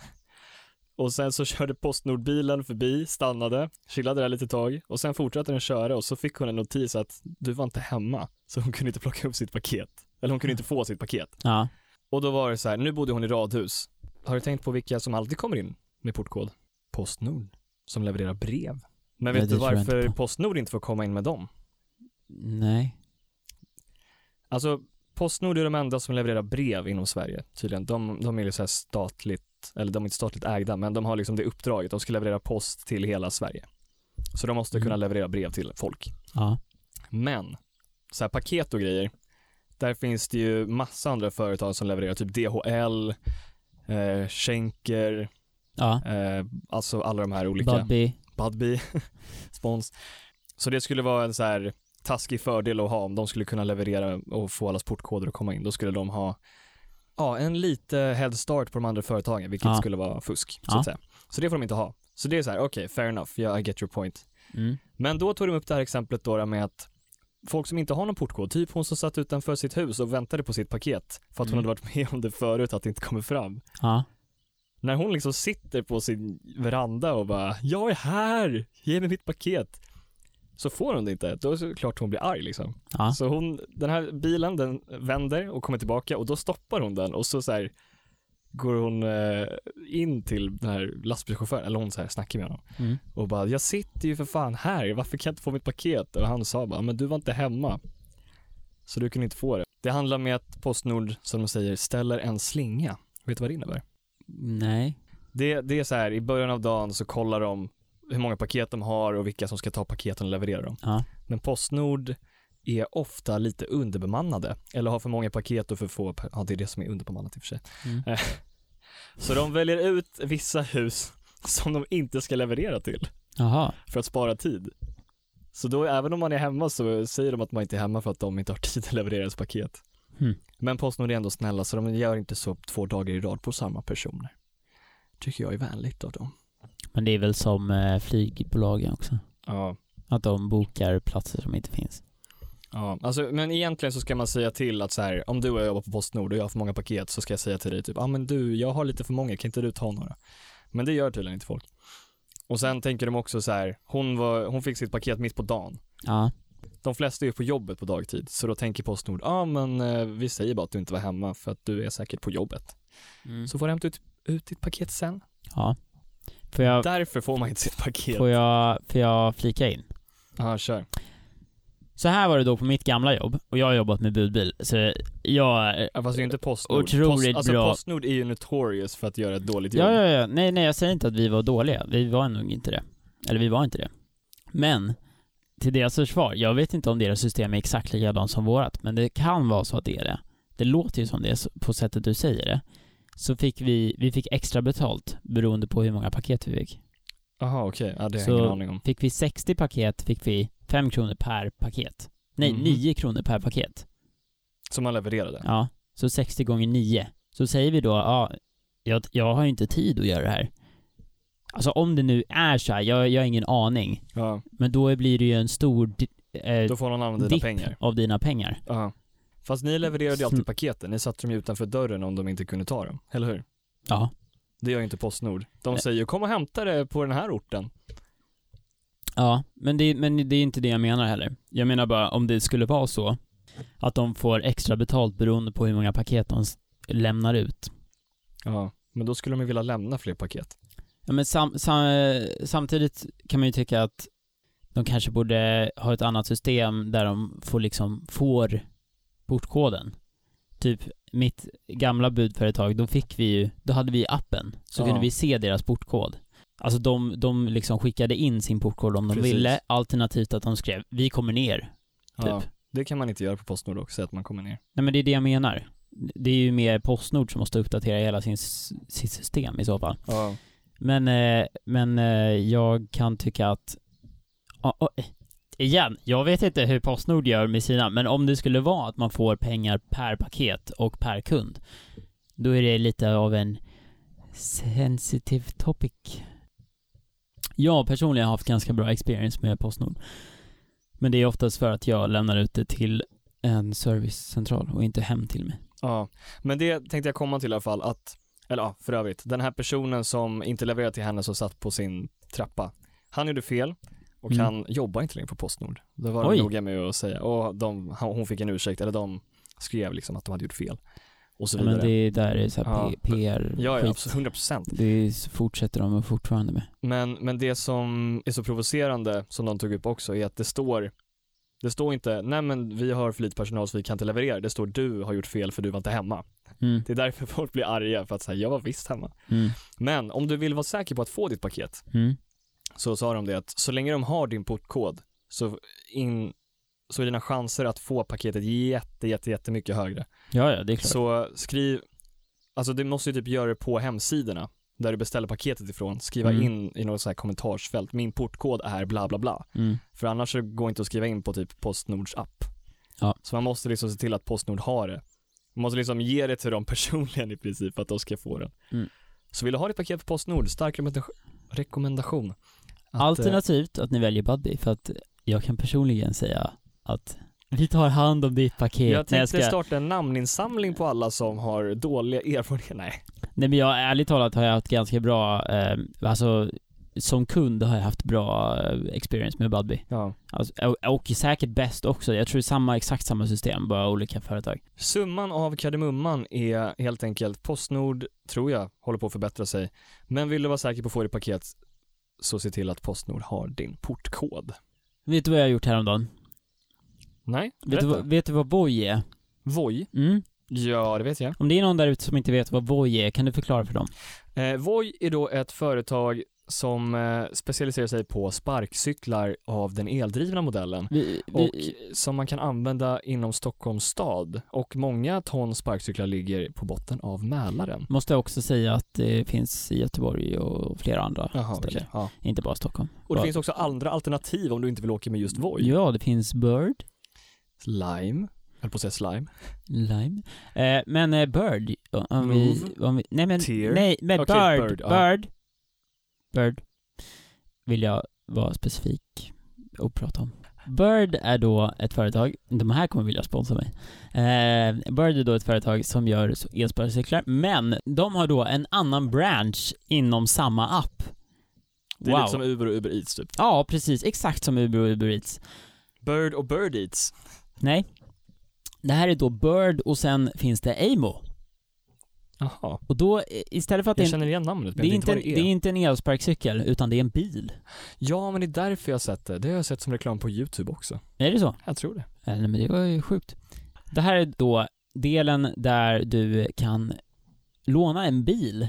Och sen så körde Postnordbilen förbi, stannade, chillade där lite tag och sen fortsatte den köra och så fick hon en notis att du var inte hemma, så hon kunde inte plocka upp sitt paket. Eller hon kunde inte få sitt paket. Ja. Och då var det så här, nu bodde hon i radhus. Har du tänkt på vilka som alltid kommer in med portkod? Postnord, som levererar brev. Nej, Men vet du det tror jag varför inte på. Postnord inte får komma in med dem? Nej. Alltså, Postnord är de enda som levererar brev inom Sverige, tydligen. De, de är ju så här statligt, eller de är inte statligt ägda, men de har liksom det uppdraget. De ska leverera post till hela Sverige. Så de måste kunna Mm. leverera brev till folk. Ja. Men, så här paket och grejer, där finns det ju massa andra företag som levererar, typ DHL, eh, Schenker, Ja. Eh, alltså alla de här olika. Budbee. Budbee. Spons. Så det skulle vara en så här taskig fördel att ha om de skulle kunna leverera och få allas portkoder att komma in. Då skulle de ha ja, en lite head start på de andra företagen, vilket Ja. skulle vara fusk. Så, Ja. att säga. så det får de inte ha. Så det är så här, okej, fair enough, yeah, I get your point. Mm. Men då tog de upp det här exemplet då med att folk som inte har någon portkod, typ hon som satt utanför sitt hus och väntade på sitt paket för att Mm. hon hade varit med om det förut att det inte kommer fram Ja. när hon liksom sitter på sin veranda och bara “Jag är här, ge mig mitt paket” så får hon det inte. Då är det såklart hon blir arg liksom. Ja. Så hon, den här bilen den vänder och kommer tillbaka och då stoppar hon den och så, så här, går hon eh, in till den här lastbilschauffören, eller hon så här snackar med honom Mm. och bara “Jag sitter ju för fan här, varför kan jag inte få mitt paket?” och han sa bara “Men du var inte hemma, så du kunde inte få det”. Det handlar med att Postnord, som de säger, ställer en slinga. Vet du vad det innebär? Nej. Det, det är så här, i början av dagen så kollar de hur många paket de har och vilka som ska ta paketen och leverera dem. Ja. Men Postnord är ofta lite underbemannade eller har för många paket och för få, pa- ja det är det som är underbemannat i och för sig. Mm. Eh, Så de väljer ut vissa hus som de inte ska leverera till Jaha. för att spara tid. Så då även om man är hemma så säger de att man inte är hemma för att de inte har tid att leverera ens paket. Hmm. Men Postnord är ändå snälla så de gör inte så två dagar i rad på samma personer. Tycker jag är vänligt av dem. Men det är väl som eh, flygbolagen också? Ja. Att de bokar platser som inte finns. Ja, alltså, men egentligen så ska man säga till att så här, om du och jag jobbar på Postnord och jag har för många paket så ska jag säga till dig typ, ja ah, men du, jag har lite för många, kan inte du ta några? Men det gör tydligen inte folk. Och sen tänker de också så här, hon, var, hon fick sitt paket mitt på dagen. Ja. De flesta är ju på jobbet på dagtid, så då tänker Postnord, ja ah, men eh, vi säger bara att du inte var hemma för att du är säkert på jobbet. Mm. Så får du hämta ut, ut ditt paket sen. Ja. Får jag, Därför får man inte sitt paket. får jag, får jag flika in? Ja, kör. Så här var det då på mitt gamla jobb, och jag har jobbat med budbil, så jag... Ja, Fast det är ju inte Postnord. Otroligt alltså bra. Postnord är ju notorious för att göra ett dåligt jobb. Ja, ja, ja, nej, nej, jag säger inte att vi var dåliga, vi var nog inte det. Eller vi var inte det. Men, till deras försvar, jag vet inte om deras system är exakt likadant som vårat, men det kan vara så att det är det. Det låter ju som det på sättet du säger det. Så fick vi, vi fick extra betalt beroende på hur många paket vi fick. Jaha okej, ja, det har Så- jag ingen aning om. Fick vi 60 paket fick vi 5 kronor per paket. Nej, Mhm. 9 kronor per paket. Som man levererade. Ja, så 60 gånger 9. Så säger vi då, ja, jag, jag har ju inte tid att göra det här. Alltså om det nu är så här, jag, jag har ingen aning. Ja. Men då blir det ju en stor di- eh, Då får någon använda dina dipp pengar. av dina pengar. Ja. Fast ni levererade ju Sn- alltid paketen, ni satte dem ju utanför dörren om de inte kunde ta dem, eller hur? Ja. Det gör ju inte Postnord. De Nej. säger ju kom och hämta det på den här orten. Ja, men det, men det är inte det jag menar heller. Jag menar bara om det skulle vara så att de får extra betalt beroende på hur många paket de s- lämnar ut. Ja. Men då skulle de ju vilja lämna fler paket. Ja, men sam, sam, eh, samtidigt kan man ju tycka att de kanske borde ha ett annat system där de får liksom får portkoden. Typ mitt gamla budföretag, då fick vi ju, då hade vi appen, så Ja. kunde vi se deras portkod. Alltså de, de liksom skickade in sin portkod om de Precis. ville, alternativt att de skrev 'Vi kommer ner' Ja. Typ. Det kan man inte göra på Postnord också, säga att man kommer ner. Nej men det är det jag menar. Det är ju mer Postnord som måste uppdatera hela sin, s- sitt system i så fall. Ja. Men, eh, men eh, jag kan tycka att... Ja, och- eh, igen, jag vet inte hur Postnord gör med sina, men om det skulle vara att man får pengar per paket och per kund, då är det lite av en sensitive topic. Jag personligen har haft ganska bra experience med Postnord. Men det är oftast för att jag lämnar ut det till en servicecentral och inte hem till mig. Ja. Men det tänkte jag komma till i alla fall att, eller ja, för övrigt, den här personen som inte levererade till henne som satt på sin trappa, han gjorde fel och Mm. han jobbar inte längre på Postnord. Det var Oj. de noga med att säga. Och de, han- hon fick en ursäkt, eller de skrev liksom att de hade gjort fel. Och så Ja, men vidare. det är där det är så här Ja. P- PR Ja, ja, skit. absolut, 100 procent. Det fortsätter de fortfarande med. Men, men det som är så provocerande, som de tog upp också, är att det står det står inte, nej men vi har för lite personal så vi kan inte leverera. Det står du har gjort fel för du var inte hemma. Mm. Det är därför folk blir arga för att säga jag var visst hemma. Mm. Men om du vill vara säker på att få ditt paket Mm. så sa de det att så länge de har din portkod så, in, så är dina chanser att få paketet jätte, jätte, jättemycket högre. Ja, ja, det är klart. Så skriv, alltså du måste ju typ göra det på hemsidorna där du beställer paketet ifrån, skriva Mm. in i något så här kommentarsfält, min portkod är bla bla bla. Mm. För annars så går det inte att skriva in på typ Postnords app. Ja. Så man måste liksom se till att Postnord har det. Man måste liksom ge det till dem personligen i princip för att de ska få den. Mm. Så vill du ha ditt paket på Postnord, stark rekommenda- rekommendation. Att, eh, Alternativt att ni väljer Budbee, för att jag kan personligen säga att vi tar hand om ditt paket. jag Nej, tänkte ska- starta en namninsamling på alla som har dåliga erfarenheter. Nej, Nej men jag, ärligt talat har jag haft ganska bra, eh, alltså som kund har jag haft bra eh, experience med Budbee. ja. Alltså, och, och säkert bäst också. Jag tror det är samma, exakt samma system, bara olika företag. Summan av kardemumman är helt enkelt Postnord, tror jag, håller på att förbättra sig. Men vill du vara säker på att få ditt paket så se till att Postnord har din portkod. Vet du vad jag har gjort häromdagen? Nej, Vet du, vad- vet du vad Voi är? Voi? Mm? Ja, det vet jag. Om det är någon där ute som inte vet vad Voi är, kan du förklara för dem? Eh, Voi är då ett företag som eh, specialiserar sig på sparkcyklar av den eldrivna modellen Vi, vi, och som man kan använda inom Stockholms stad och många ton sparkcyklar ligger på botten av Mälaren. Måste jag också säga att det finns i Göteborg och flera andra Jaha, ställen. okej. Ja. Inte bara Stockholm. Och det Bara- finns också andra alternativ om du inte vill åka med just Voi. Ja, det finns Bird, Lime, jag höll på att säga slime. Lime. Eh, men eh, Bird, o- om vi, om vi... Nej men, Tear. nej, men Okej, Bird, Bird, Bird, ja. Bird. Vill jag vara specifik och prata om. Bird är då ett företag, de här kommer vilja sponsra mig. Eh, Bird är då ett företag som gör så- elsparkcyklar, men de har då en annan branch inom samma app. Det är wow. lite som Uber och Uber Eats typ. Ja, precis. Exakt som Uber och Uber Eats. Bird och Bird Eats. Nej. Det här är då Bird och sen finns det Amo. Jaha. Och då, i- istället för att det Jag är en, känner igen namnet det är, inte en, vad det är inte en elsparkcykel, utan det är en bil. Ja, men det är därför jag har sett det. Det har jag sett som reklam på YouTube också. Är det så? Jag tror det. Eh, Nej men det var ju sjukt. Det här är då delen där du kan låna en bil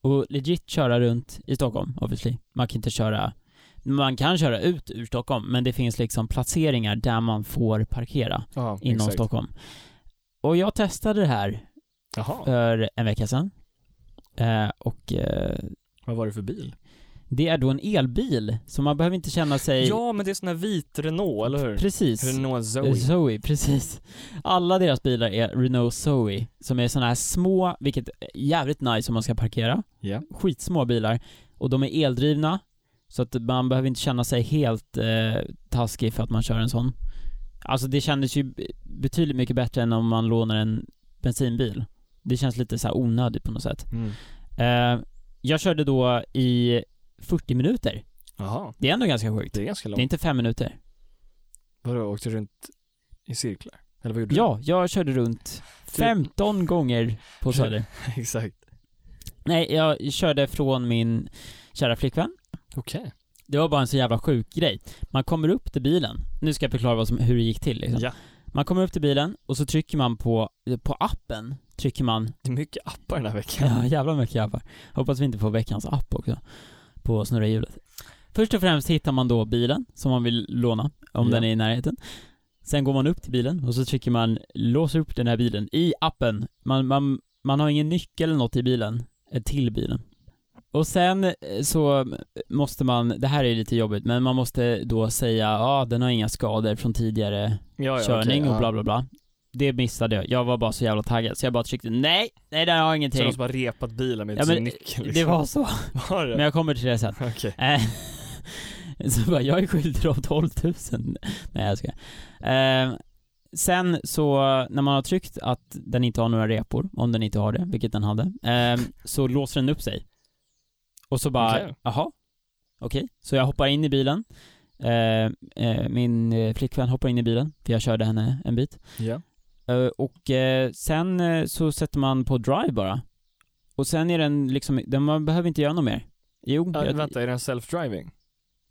och legit köra runt i Stockholm, obviously. Man kan inte köra man kan köra ut ur Stockholm, men det finns liksom placeringar där man får parkera Ja, inom Stockholm. Och jag testade det här Jaha, för en vecka sedan. Eh, och eh, vad var det för bil? det är då en elbil, så man behöver inte känna sig... Ja, men det är sån här vit Renault, eller hur? precis. Renault Zoe. Zoe, precis. Alla deras bilar är Renault Zoe, som är såna här små, vilket är jävligt nice om man ska parkera. Ja. Skitsmå bilar. Och de är eldrivna, så att man behöver inte känna sig helt eh, taskig för att man kör en sån. Alltså det kändes ju betydligt mycket bättre än om man lånar en bensinbil. Det känns lite så här onödigt på något sätt. Mm. Eh, jag körde då i 40 minuter. Jaha, Det är ändå ganska sjukt. det är ganska Det är långt. inte fem minuter. Vadå, åkte du runt i cirklar? Eller vad gjorde Ja, jag körde Typ- runt 15 gånger på Söder. du? Exakt. Nej, jag körde från min kära flickvän. Okej. Det var bara en så jävla sjuk grej. Man kommer upp till bilen. Nu ska jag förklara vad som, hur det gick till liksom. Ja. Man kommer upp till bilen och så trycker man på, på appen, trycker man Det är mycket appar den här veckan. Ja, jävla mycket appar. Hoppas vi inte får veckans app också. På snurra hjulet. Först och främst hittar man då bilen som man vill låna, om Ja. den är i närheten. Sen går man upp till bilen och så trycker man låsa upp den här bilen i appen. Man, man, man har ingen nyckel eller något i bilen, eh, till bilen. Och sen eh, så måste man, det här är lite jobbigt, men man måste då säga ja, den har inga skador från tidigare Ja, ja, körning okej, och bla bla bla. Det missade jag. Jag var bara så jävla taggad så jag bara tryckte nej, nej den har Så ingenting. de som har repat bilar med Ja, sin men nyckel Det var så, Var men det? jag kommer till det sen. Okej. Eh, så bara, jag är skyldig dem 12 000. Nej jag ska. Eh, sen så, när man har tryckt att den inte har några repor, om den inte har det, vilket den hade, eh, så låser den upp sig. Och så bara, Okej. jaha, okej. Så jag hoppar in i bilen. Eh, eh, min eh, flickvän hoppar in i bilen, för jag körde henne en bit. Ja. Eh, Och eh, sen eh, så sätter man på drive bara. Och sen är den liksom, den, man behöver inte göra något mer. Jo, Ja, jag- vänta, är den self-driving?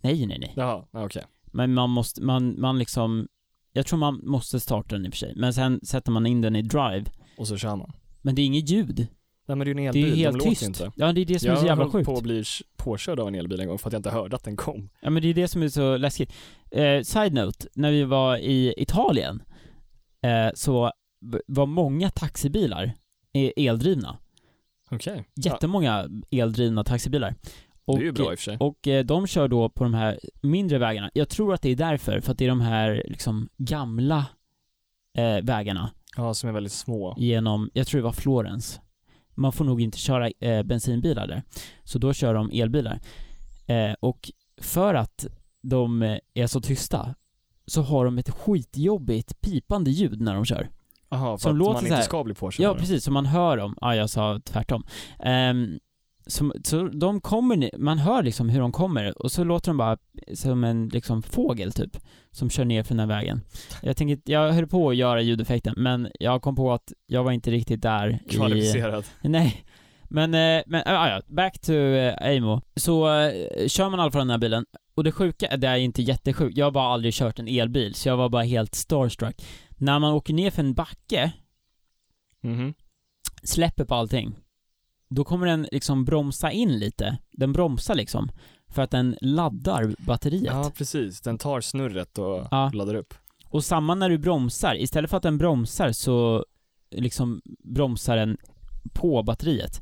nej nej nej. Jaha, ja, okej. Men man måste, man, man liksom, jag tror man måste starta den i och för sig. Men sen sätter man in den i drive. Och så kör man. Men det är inget ljud. Nej men det är ju en Det elbil, är ju de helt låter ju tyst. inte. Ja det är det som är så jag jävla höll på sjukt. att bli påkörd av en elbil en gång för att jag inte hörde att den kom. Ja men det är det som är så läskigt. Eh, side note, när vi var i Italien eh, så b- var många taxibilar eh, eldrivna. Okej. Jättemånga eldrivna taxibilar. Ja, det är ju Och, bra i och för sig. Och eh, de kör då på de här mindre vägarna. Jag tror att det är därför, för att det är de här liksom gamla eh, vägarna Ja, som är väldigt små. genom, jag tror det var Florens. Man får nog inte köra eh, bensinbilar där. Så då kör de elbilar. Eh, och för att de eh, är så tysta så har de ett skitjobbigt pipande ljud när de kör. Jaha, för Som att låter man så inte här. ska bli påkörd. Ja, precis. Så man hör dem. Ja, jag sa tvärtom. Ehm, så, så de kommer, ne- man hör liksom hur de kommer och så låter de bara som en liksom fågel typ, som kör ner från den här vägen. Jag tänker, jag höll på att göra ljudeffekten men jag kom på att jag var inte riktigt där i... Kvalificerad. Nej. Men, eh, men ah, ja, back to eh, Amo. Så eh, kör man i alla fall den här bilen, och det sjuka, det är inte jättesjukt, jag har bara aldrig kört en elbil, så jag var bara helt starstruck. När man åker ner för en backe, Mhm. släpper på allting. då kommer den liksom bromsa in lite. Den bromsar liksom. För att den laddar batteriet. Ja, precis. Den tar snurret och Ja. laddar upp. Och samma när du bromsar, istället för att den bromsar så liksom bromsar den på batteriet.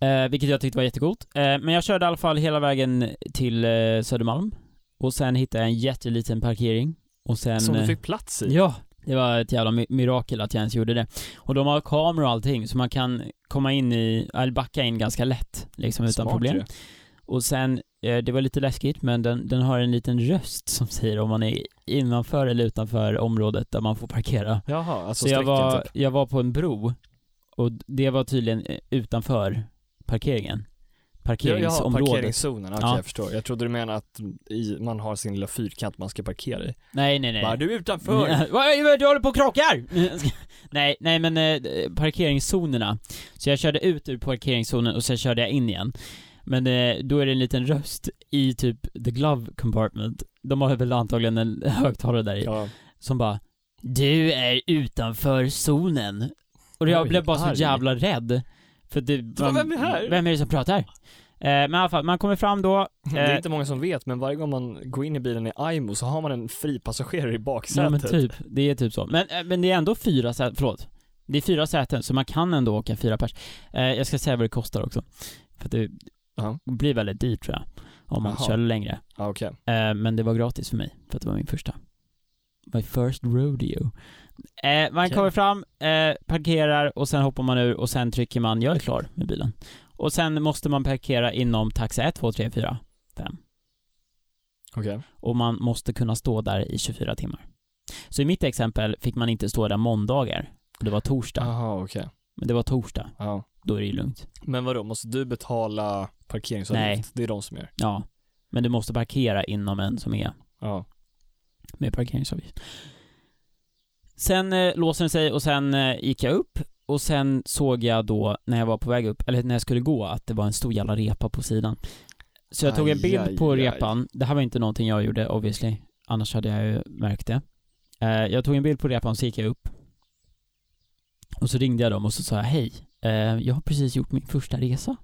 Eh, vilket jag tyckte var jättegott. Eh, men jag körde i alla fall hela vägen till eh, Södermalm. Och sen hittade jag en jätteliten parkering. Och sen... Som du eh, fick plats i. Ja, det var ett jävla mi- mirakel att jag ens gjorde det. Och de har kameror och allting, så man kan komma in i, eller backa in ganska lätt, liksom utan Smart problem. ju. Och sen, eh, det var lite läskigt, men den, den har en liten röst som säger om man är innanför eller utanför området där man får parkera. Jaha, alltså Så jag strecken var, typ. jag var på en bro, och d- det var tydligen eh, utanför parkeringen. Ja, ja, Parkeringsområdet. parkeringszonen, okej Ja. jag förstår. Jag trodde du menade att i, man har sin lilla fyrkant man ska parkera i. Nej, nej, nej. Bara, du är utanför! Ja, vad- vad- Du håller på och krockar! nej, nej men eh, parkeringszonerna. Så jag körde ut ur parkeringszonen och sen körde jag in igen. Men eh, då är det en liten röst i typ the glove compartment. De har väl antagligen en högtalare där i. Ja, Som bara Du är utanför zonen. Och jag Oj, blev bara så arg. jävla rädd. För det, bara, "Vem är här?" Vem är det som pratar? Eh, men i alla fall, man kommer fram då, det är Eh. inte många som vet, men varje gång man går in i bilen i IMO så har man en fri passagerare i Ja men baksätet. typ, det är typ så. Men, eh, men det är ändå fyra säten, förlåt. Det är fyra säten, så man kan ändå åka fyra pers. Eh, jag ska säga vad det kostar också. För att det Ja. blir väldigt dyrt tror jag. Om man Jaha. kör längre. Ja, okej. Eh, men det var gratis för mig, för att det var min första. My first rodeo. Eh, man Okej. kommer fram, eh, parkerar och sen hoppar man ur och sen trycker man 'Jag är klar' med bilen. Och sen måste man parkera inom taxa 1, 2, 3, 4, 5. Okej. och man måste kunna stå där i 24 timmar. Så i mitt exempel fick man inte stå där måndagar, och det var torsdag. Jaha, okej. Men det var torsdag, Ja. då är det ju lugnt. Men vadå, måste du betala parkeringsavgift? Nej. Det är de som gör. Ja. Men du måste parkera inom en som är Ja. med parkeringsavgift. Sen eh, låser den sig och sen eh, gick jag upp och sen såg jag då när jag var på väg upp, eller när jag skulle gå, att det var en stor jävla repa på sidan. Så jag tog en Aj, bild på aj, aj. repan. Det här var inte någonting jag gjorde obviously, annars hade jag ju märkt det. Eh, jag tog en bild på repan, så gick jag upp. Och så ringde jag dem och så sa jag hej, eh, jag har precis gjort min första resa.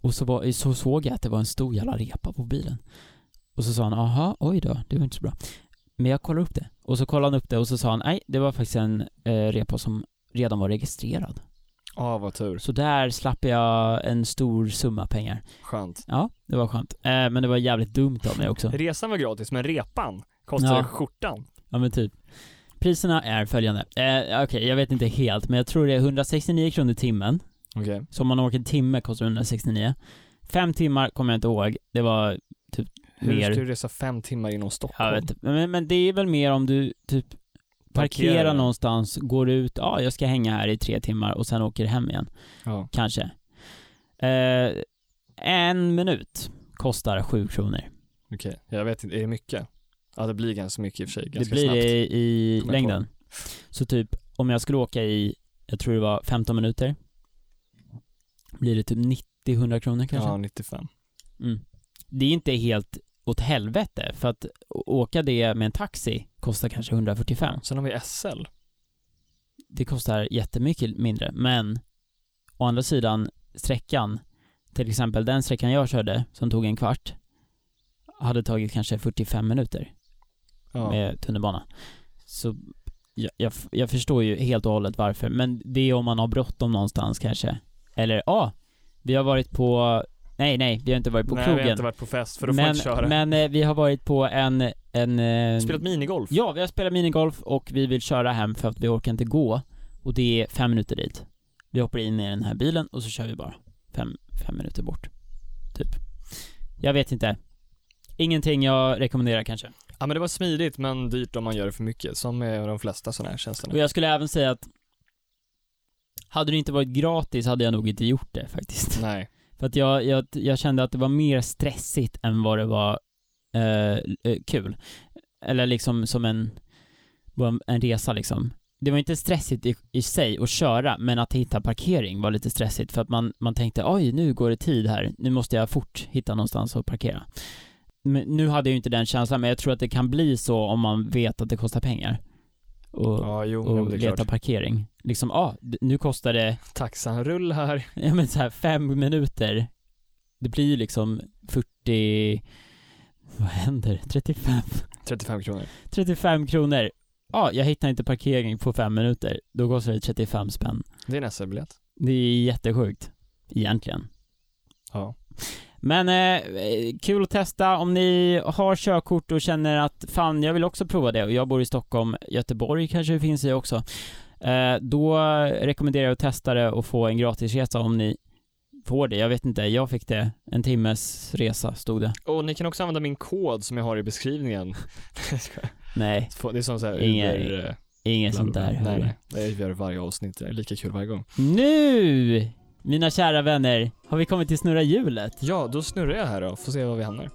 Och så, var, så såg jag att det var en stor jävla repa på bilen. Och så sa han, aha, oj då, det var inte så bra. Men jag kollade upp det. Och så kollade han upp det och så sa han, nej, det var faktiskt en eh, repa som redan var registrerad. Ja, vad tur. Så där slapp jag en stor summa pengar. Skönt. Ja, det var skönt. Eh, men det var jävligt dumt av mig också. Resan var gratis, men repan kostade Ja. skjortan. Ja men typ. Priserna är följande. Eh, Okej, jag vet inte helt, men jag tror det är 169 kronor timmen. Okej. Så om man åker en timme kostar det 169. Fem timmar kommer jag inte ihåg. Det var, Hur Mer. ska du resa fem timmar inom Stockholm? jag vet inte. men, men det är väl mer om du typ parkerar Parkera. någonstans, går ut, ja jag ska hänga här i tre timmar och sen åker hem igen. Ja. Kanske. Eh, en minut kostar sju kronor. Okej. Jag vet inte, är det mycket? Ja, det blir ganska mycket i och för sig. Det Ganska blir snabbt. det i, i Kommer jag längden. Så typ, om jag skulle åka i, jag tror det var 15 minuter, blir det typ 90-100 kronor kanske. Ja, 95. Mm. Det är inte helt åt helvete, för att å- åka det med en taxi kostar kanske 145. Sen har vi SL. Det kostar jättemycket mindre, men å andra sidan sträckan, till exempel den sträckan jag körde, som tog en kvart, hade tagit kanske 45 minuter. Ja. med tunnelbana. Så jag, jag, jag förstår ju helt och hållet varför, men det är om man har bråttom någonstans kanske. Eller ja, ah, vi har varit på, nej nej, vi har inte varit på Nej, vi har krogen. inte varit på fest för då får man men inte köra. men eh, vi har varit på en, en... eh, Spelat minigolf. Ja, vi har spelat minigolf och vi vill köra hem för att vi orkar inte gå. Och det är fem minuter dit. Vi hoppar in i den här bilen och så kör vi bara. Fem, fem minuter bort. Typ. Jag vet inte. Ingenting jag rekommenderar kanske. Ja, men det var smidigt men dyrt om man gör det för mycket. Som med de flesta sådana här tjänsterna. Och jag skulle även säga att hade det inte varit gratis hade jag nog inte gjort det faktiskt. Nej. För att jag, jag, jag kände att det var mer stressigt än vad det var eh, eh, kul. Eller liksom som en, var en- en resa liksom. Det var inte stressigt i, i sig att köra, men att hitta parkering var lite stressigt för att man, man tänkte oj, nu går det tid här, nu måste jag fort hitta någonstans att parkera. Men nu hade jag ju inte den känslan, men jag tror att det kan bli så om man vet att det kostar pengar. Och, Ja, jo, jo och det är leta klart. parkering. liksom, ja, ah, d- nu kostar det, Taxanrull här. ja men så här fem minuter. Det blir ju liksom 40, vad händer? 35? 35 kronor. 35 kronor. Ja, ah, jag hittar inte parkering på fem minuter. Då kostar det 35 spänn. Det är en SL-biljett. Det är jättesjukt, egentligen. Ja. Men eh, kul att testa om ni har körkort och känner att fan, jag vill också prova det och jag bor i Stockholm, Göteborg kanske det finns i också. Eh, då rekommenderar jag att testa det och få en gratisresa om ni får det. Jag vet inte, jag fick det. En timmes resa stod det. Och ni kan också använda min kod som jag har i beskrivningen. Nej, det är som såhär Inga- Uber... eh, inget bla, sånt bla, bla. där. Nej, nej. Det gör vi varje avsnitt. Det är lika kul varje gång. Nu, mina kära vänner, har vi kommit till snurra hjulet. Ja, då snurrar jag här då. Får se var vi hamnar.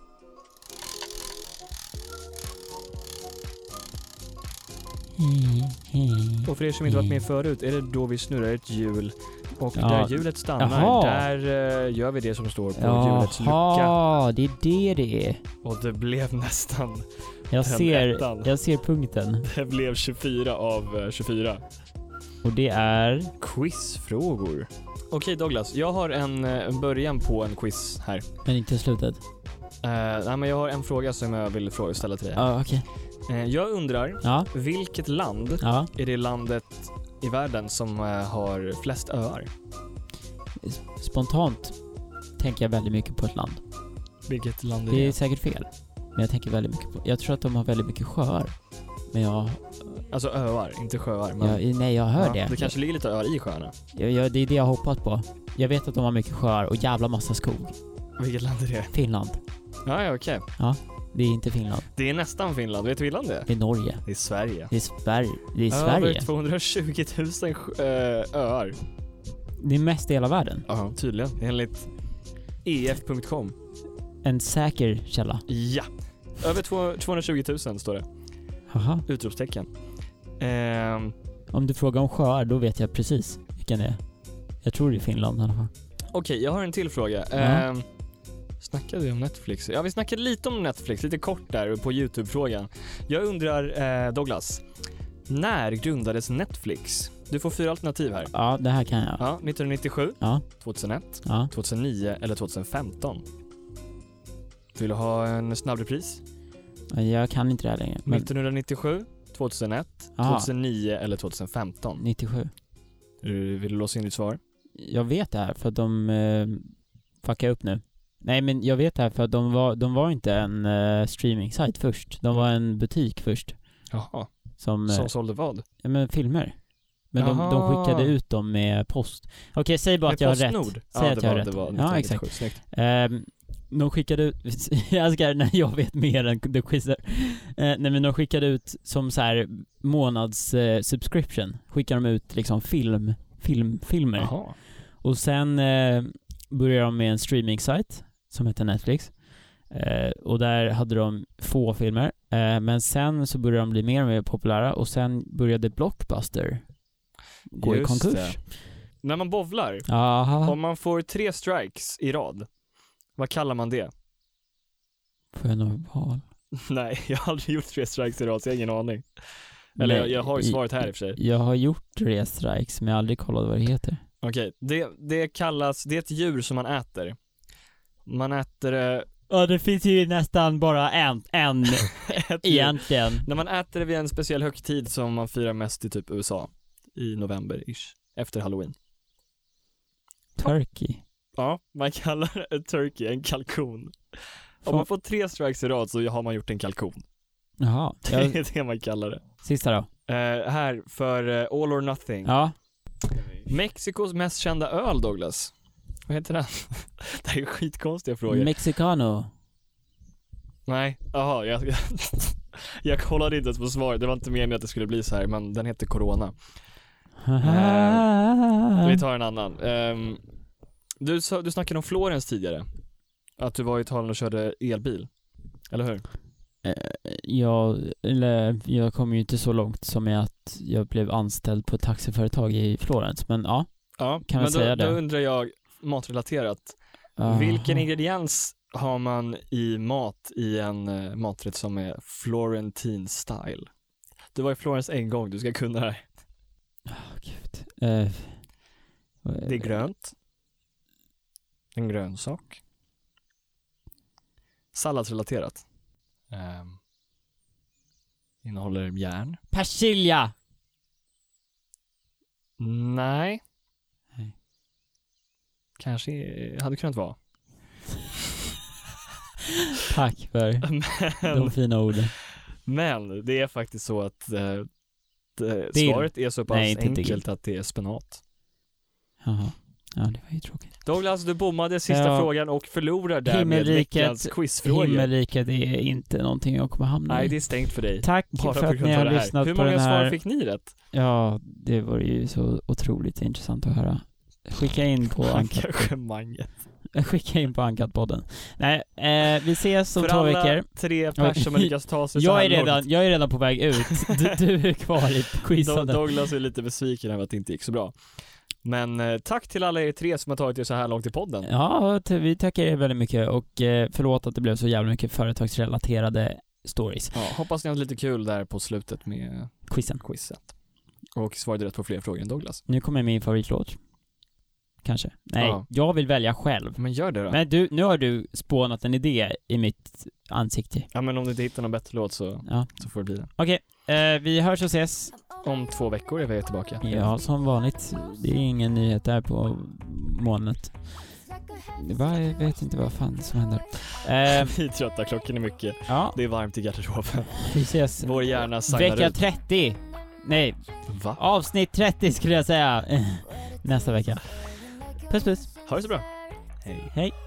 Och för er som inte varit med förut är det då vi snurrar ett hjul och Ja. där hjulet stannar, Jaha. där eh, gör vi det som står på hjulets lucka. Jaha, det är det det är. Och det blev nästan, Jag Den ser, ettan. jag ser punkten. det blev 24 av eh, 24. Och det är... Quizfrågor. Okej Douglas, jag har en eh, en början på en quiz här. Men inte slutet. Eh, nej, men jag har en fråga som jag vill fråga, ställa till dig. Ja, okej. Eh, jag undrar, Ja, vilket land ja. är det landet i världen som eh, har flest öar? Spontant tänker jag väldigt mycket på ett land. Vilket land Det är säkert fel. Men jag tänker väldigt mycket på... Jag tror att de har väldigt mycket sjöar. Men jag... Alltså öar, inte sjöar. Men... jag nej, jag hör Ja, det. Det kanske ligger lite öar i sjöarna. jag, jag, det är det jag hoppat på. Jag vet att de har mycket sjöar och jävla massa skog. Vilket land är det? Finland. Ja, ja okej. Det är inte Finland. Det är nästan Finland. Vet du vilket land det är? Det är Norge. Det är Sverige. Det är Sverige. Det är Över Sverige. 220 000 sj- eh, öar. Det är mest i hela världen. Ja, tydligen. Enligt E EF.com. En säker källa. Ja. Över två- 220 000 står det. Haha. Utropstecken. Ehm, Om du frågar om sjöar, då vet jag precis vilken det är. Jag tror det är Finland i alla fall. Okej, jag har en till fråga. Ja. Ehm, snackade vi om Netflix? Ja, vi snackade lite om Netflix, lite kort där på YouTube-frågan. Jag undrar, eh, Douglas. När grundades Netflix? Du får fyra alternativ här. Ja, det här kan jag. Ja, 1997, Ja. 2001, Ja. 2009 eller 2015? Vill du ha en snabb repris? Jag kan inte det här längre. Men, 1997, 2001, aha, 2009 eller 2015? 97. Eh, Vill du låsa in ditt svar? Jag vet det här för att de eh, fuckar upp nu. Nej men jag vet det här för att de var, de var inte en eh, streaming-sajt först. De var en butik först. Jaha. Som, eh, Som sålde vad? ja men filmer. Men de, de Jaha. skickade ut dem med post. Okej, säg bara att jag har rätt. Postnord? Säg ja, att det jag var, har Det rätt. var Ja, 1997. exakt. Snyggt. Ehm, de skickade ut, jag älskar när jag vet mer än the quizzer. Eh, nej men de skickade ut som så här månads eh, subscription, skickade de ut liksom film, film, filmer. Jaha. Och sen eh, började de med en streaming-sajt som hette Netflix. Eh, och där hade de få filmer. Eh, men sen så började de bli mer och mer populära och sen började Blockbuster gå i Just konkurs. det. När man bovlar, Jaha, om man får tre strikes i rad, vad kallar man det? får jag något val? Nej, jag har aldrig gjort tre strikes i rad så jag har ingen aning. Eller jag, Nej, jag har ju i- svaret här i och för sig. Jag har gjort tre strikes men jag har aldrig kollat vad det heter. Okej, det, det kallas, det är ett djur som man äter. Man äter eh, det... Ja, det finns ju nästan bara en, en ett djur. egentligen. När man äter det vid en speciell högtid som man firar mest i typ USA. I november-ish. Efter halloween. Turkey. Ja, man kallar en turkey en kalkon. Om man får tre strikes i rad så har man gjort en kalkon. Jaha. Det Jag, är det man kallar det. sista då. Eh, här för eh, All or Nothing. Ja. Mexikos mest kända öl, Douglas. Vad heter den? det här är skitkonstiga frågor. Mexicano. Nej, jaha, jag, jag kollade inte ens på svaret. Det var inte meningen att det skulle bli så här, men den heter Corona. Vi tar en annan. Ehm, du, sa- du snackade om Florens tidigare. Att du var i Italien och körde elbil. Eller hur? Eh, Jag, eller, jag kom ju inte så långt som i att jag blev anställd på ett taxiföretag i Florens, men ja. Ja, Kan men vi då, säga det? då undrar jag matrelaterat. Jaha. Vilken ingrediens har man i mat i en eh, maträtt som är Florentine style? Du var i Florens en gång, du ska kunna det här. Åh, gud. Eh, Det är grönt. En grönsak. Salladsrelaterat. Ehm, innehåller järn. Persilja! Nej. Nej. Kanske eh, hade kunnat vara. Tack för de Men, fina orden. men det är faktiskt så att eh, det, Dill. svaret är så pass Nej, inte dill. enkelt att det är spenat. Jaha. Ja, det var ju tråkigt. Douglas, du bommade sista Ja. frågan och förlorar därmed Himmelriket- veckans quizfrågor. Himmelriket är inte någonting jag kommer hamna Nej, i. det är stängt för dig. Tack Bara för att grund ni av har det här. lyssnat Hur på många den svar här. fick ni rätt? Ja, det var ju så otroligt intressant att höra. Skicka in på Anka- Engagemanget. skicka in på Ankat-podden. Nej, eh, vi ses om För två alla veckor. tre personer som lyckas ta sig så Jag här är, redan, långt. jag är redan på väg ut. Du, du är kvar i Do- quizzandet. Douglas är lite besviken över att det inte gick så bra. Men eh, tack till alla er tre som har tagit er så här långt i podden. Ja, t- vi tackar er väldigt mycket och eh, förlåt att det blev så jävla mycket företagsrelaterade stories. Ja, hoppas ni har haft lite kul där på slutet med Quizen. quizet. Och svarade rätt på fler frågor än Douglas. Nu kommer min favoritlåt. Kanske. Nej, Ja. jag vill välja själv. Men gör det då. Men du, nu har du spånat en idé i mitt ansikte. Ja men om du inte hittar någon bättre låt så, Ja. så får det bli det. Okej, eh, vi hörs och ses. Om två veckor är vi tillbaka. Ja, som vanligt. Det är ingen nyhet där på molnet. Det var- Jag vet inte vad fan som händer. Eh, Vi är trötta, klockan är mycket. ja, Det är varmt i garderoben. vi ses. Vår hjärna sagnar Vecka ut. 30. Nej, Va? avsnitt 30 skulle jag säga. Nästa vecka. Puss puss. Ha det så bra. Hej. Hej.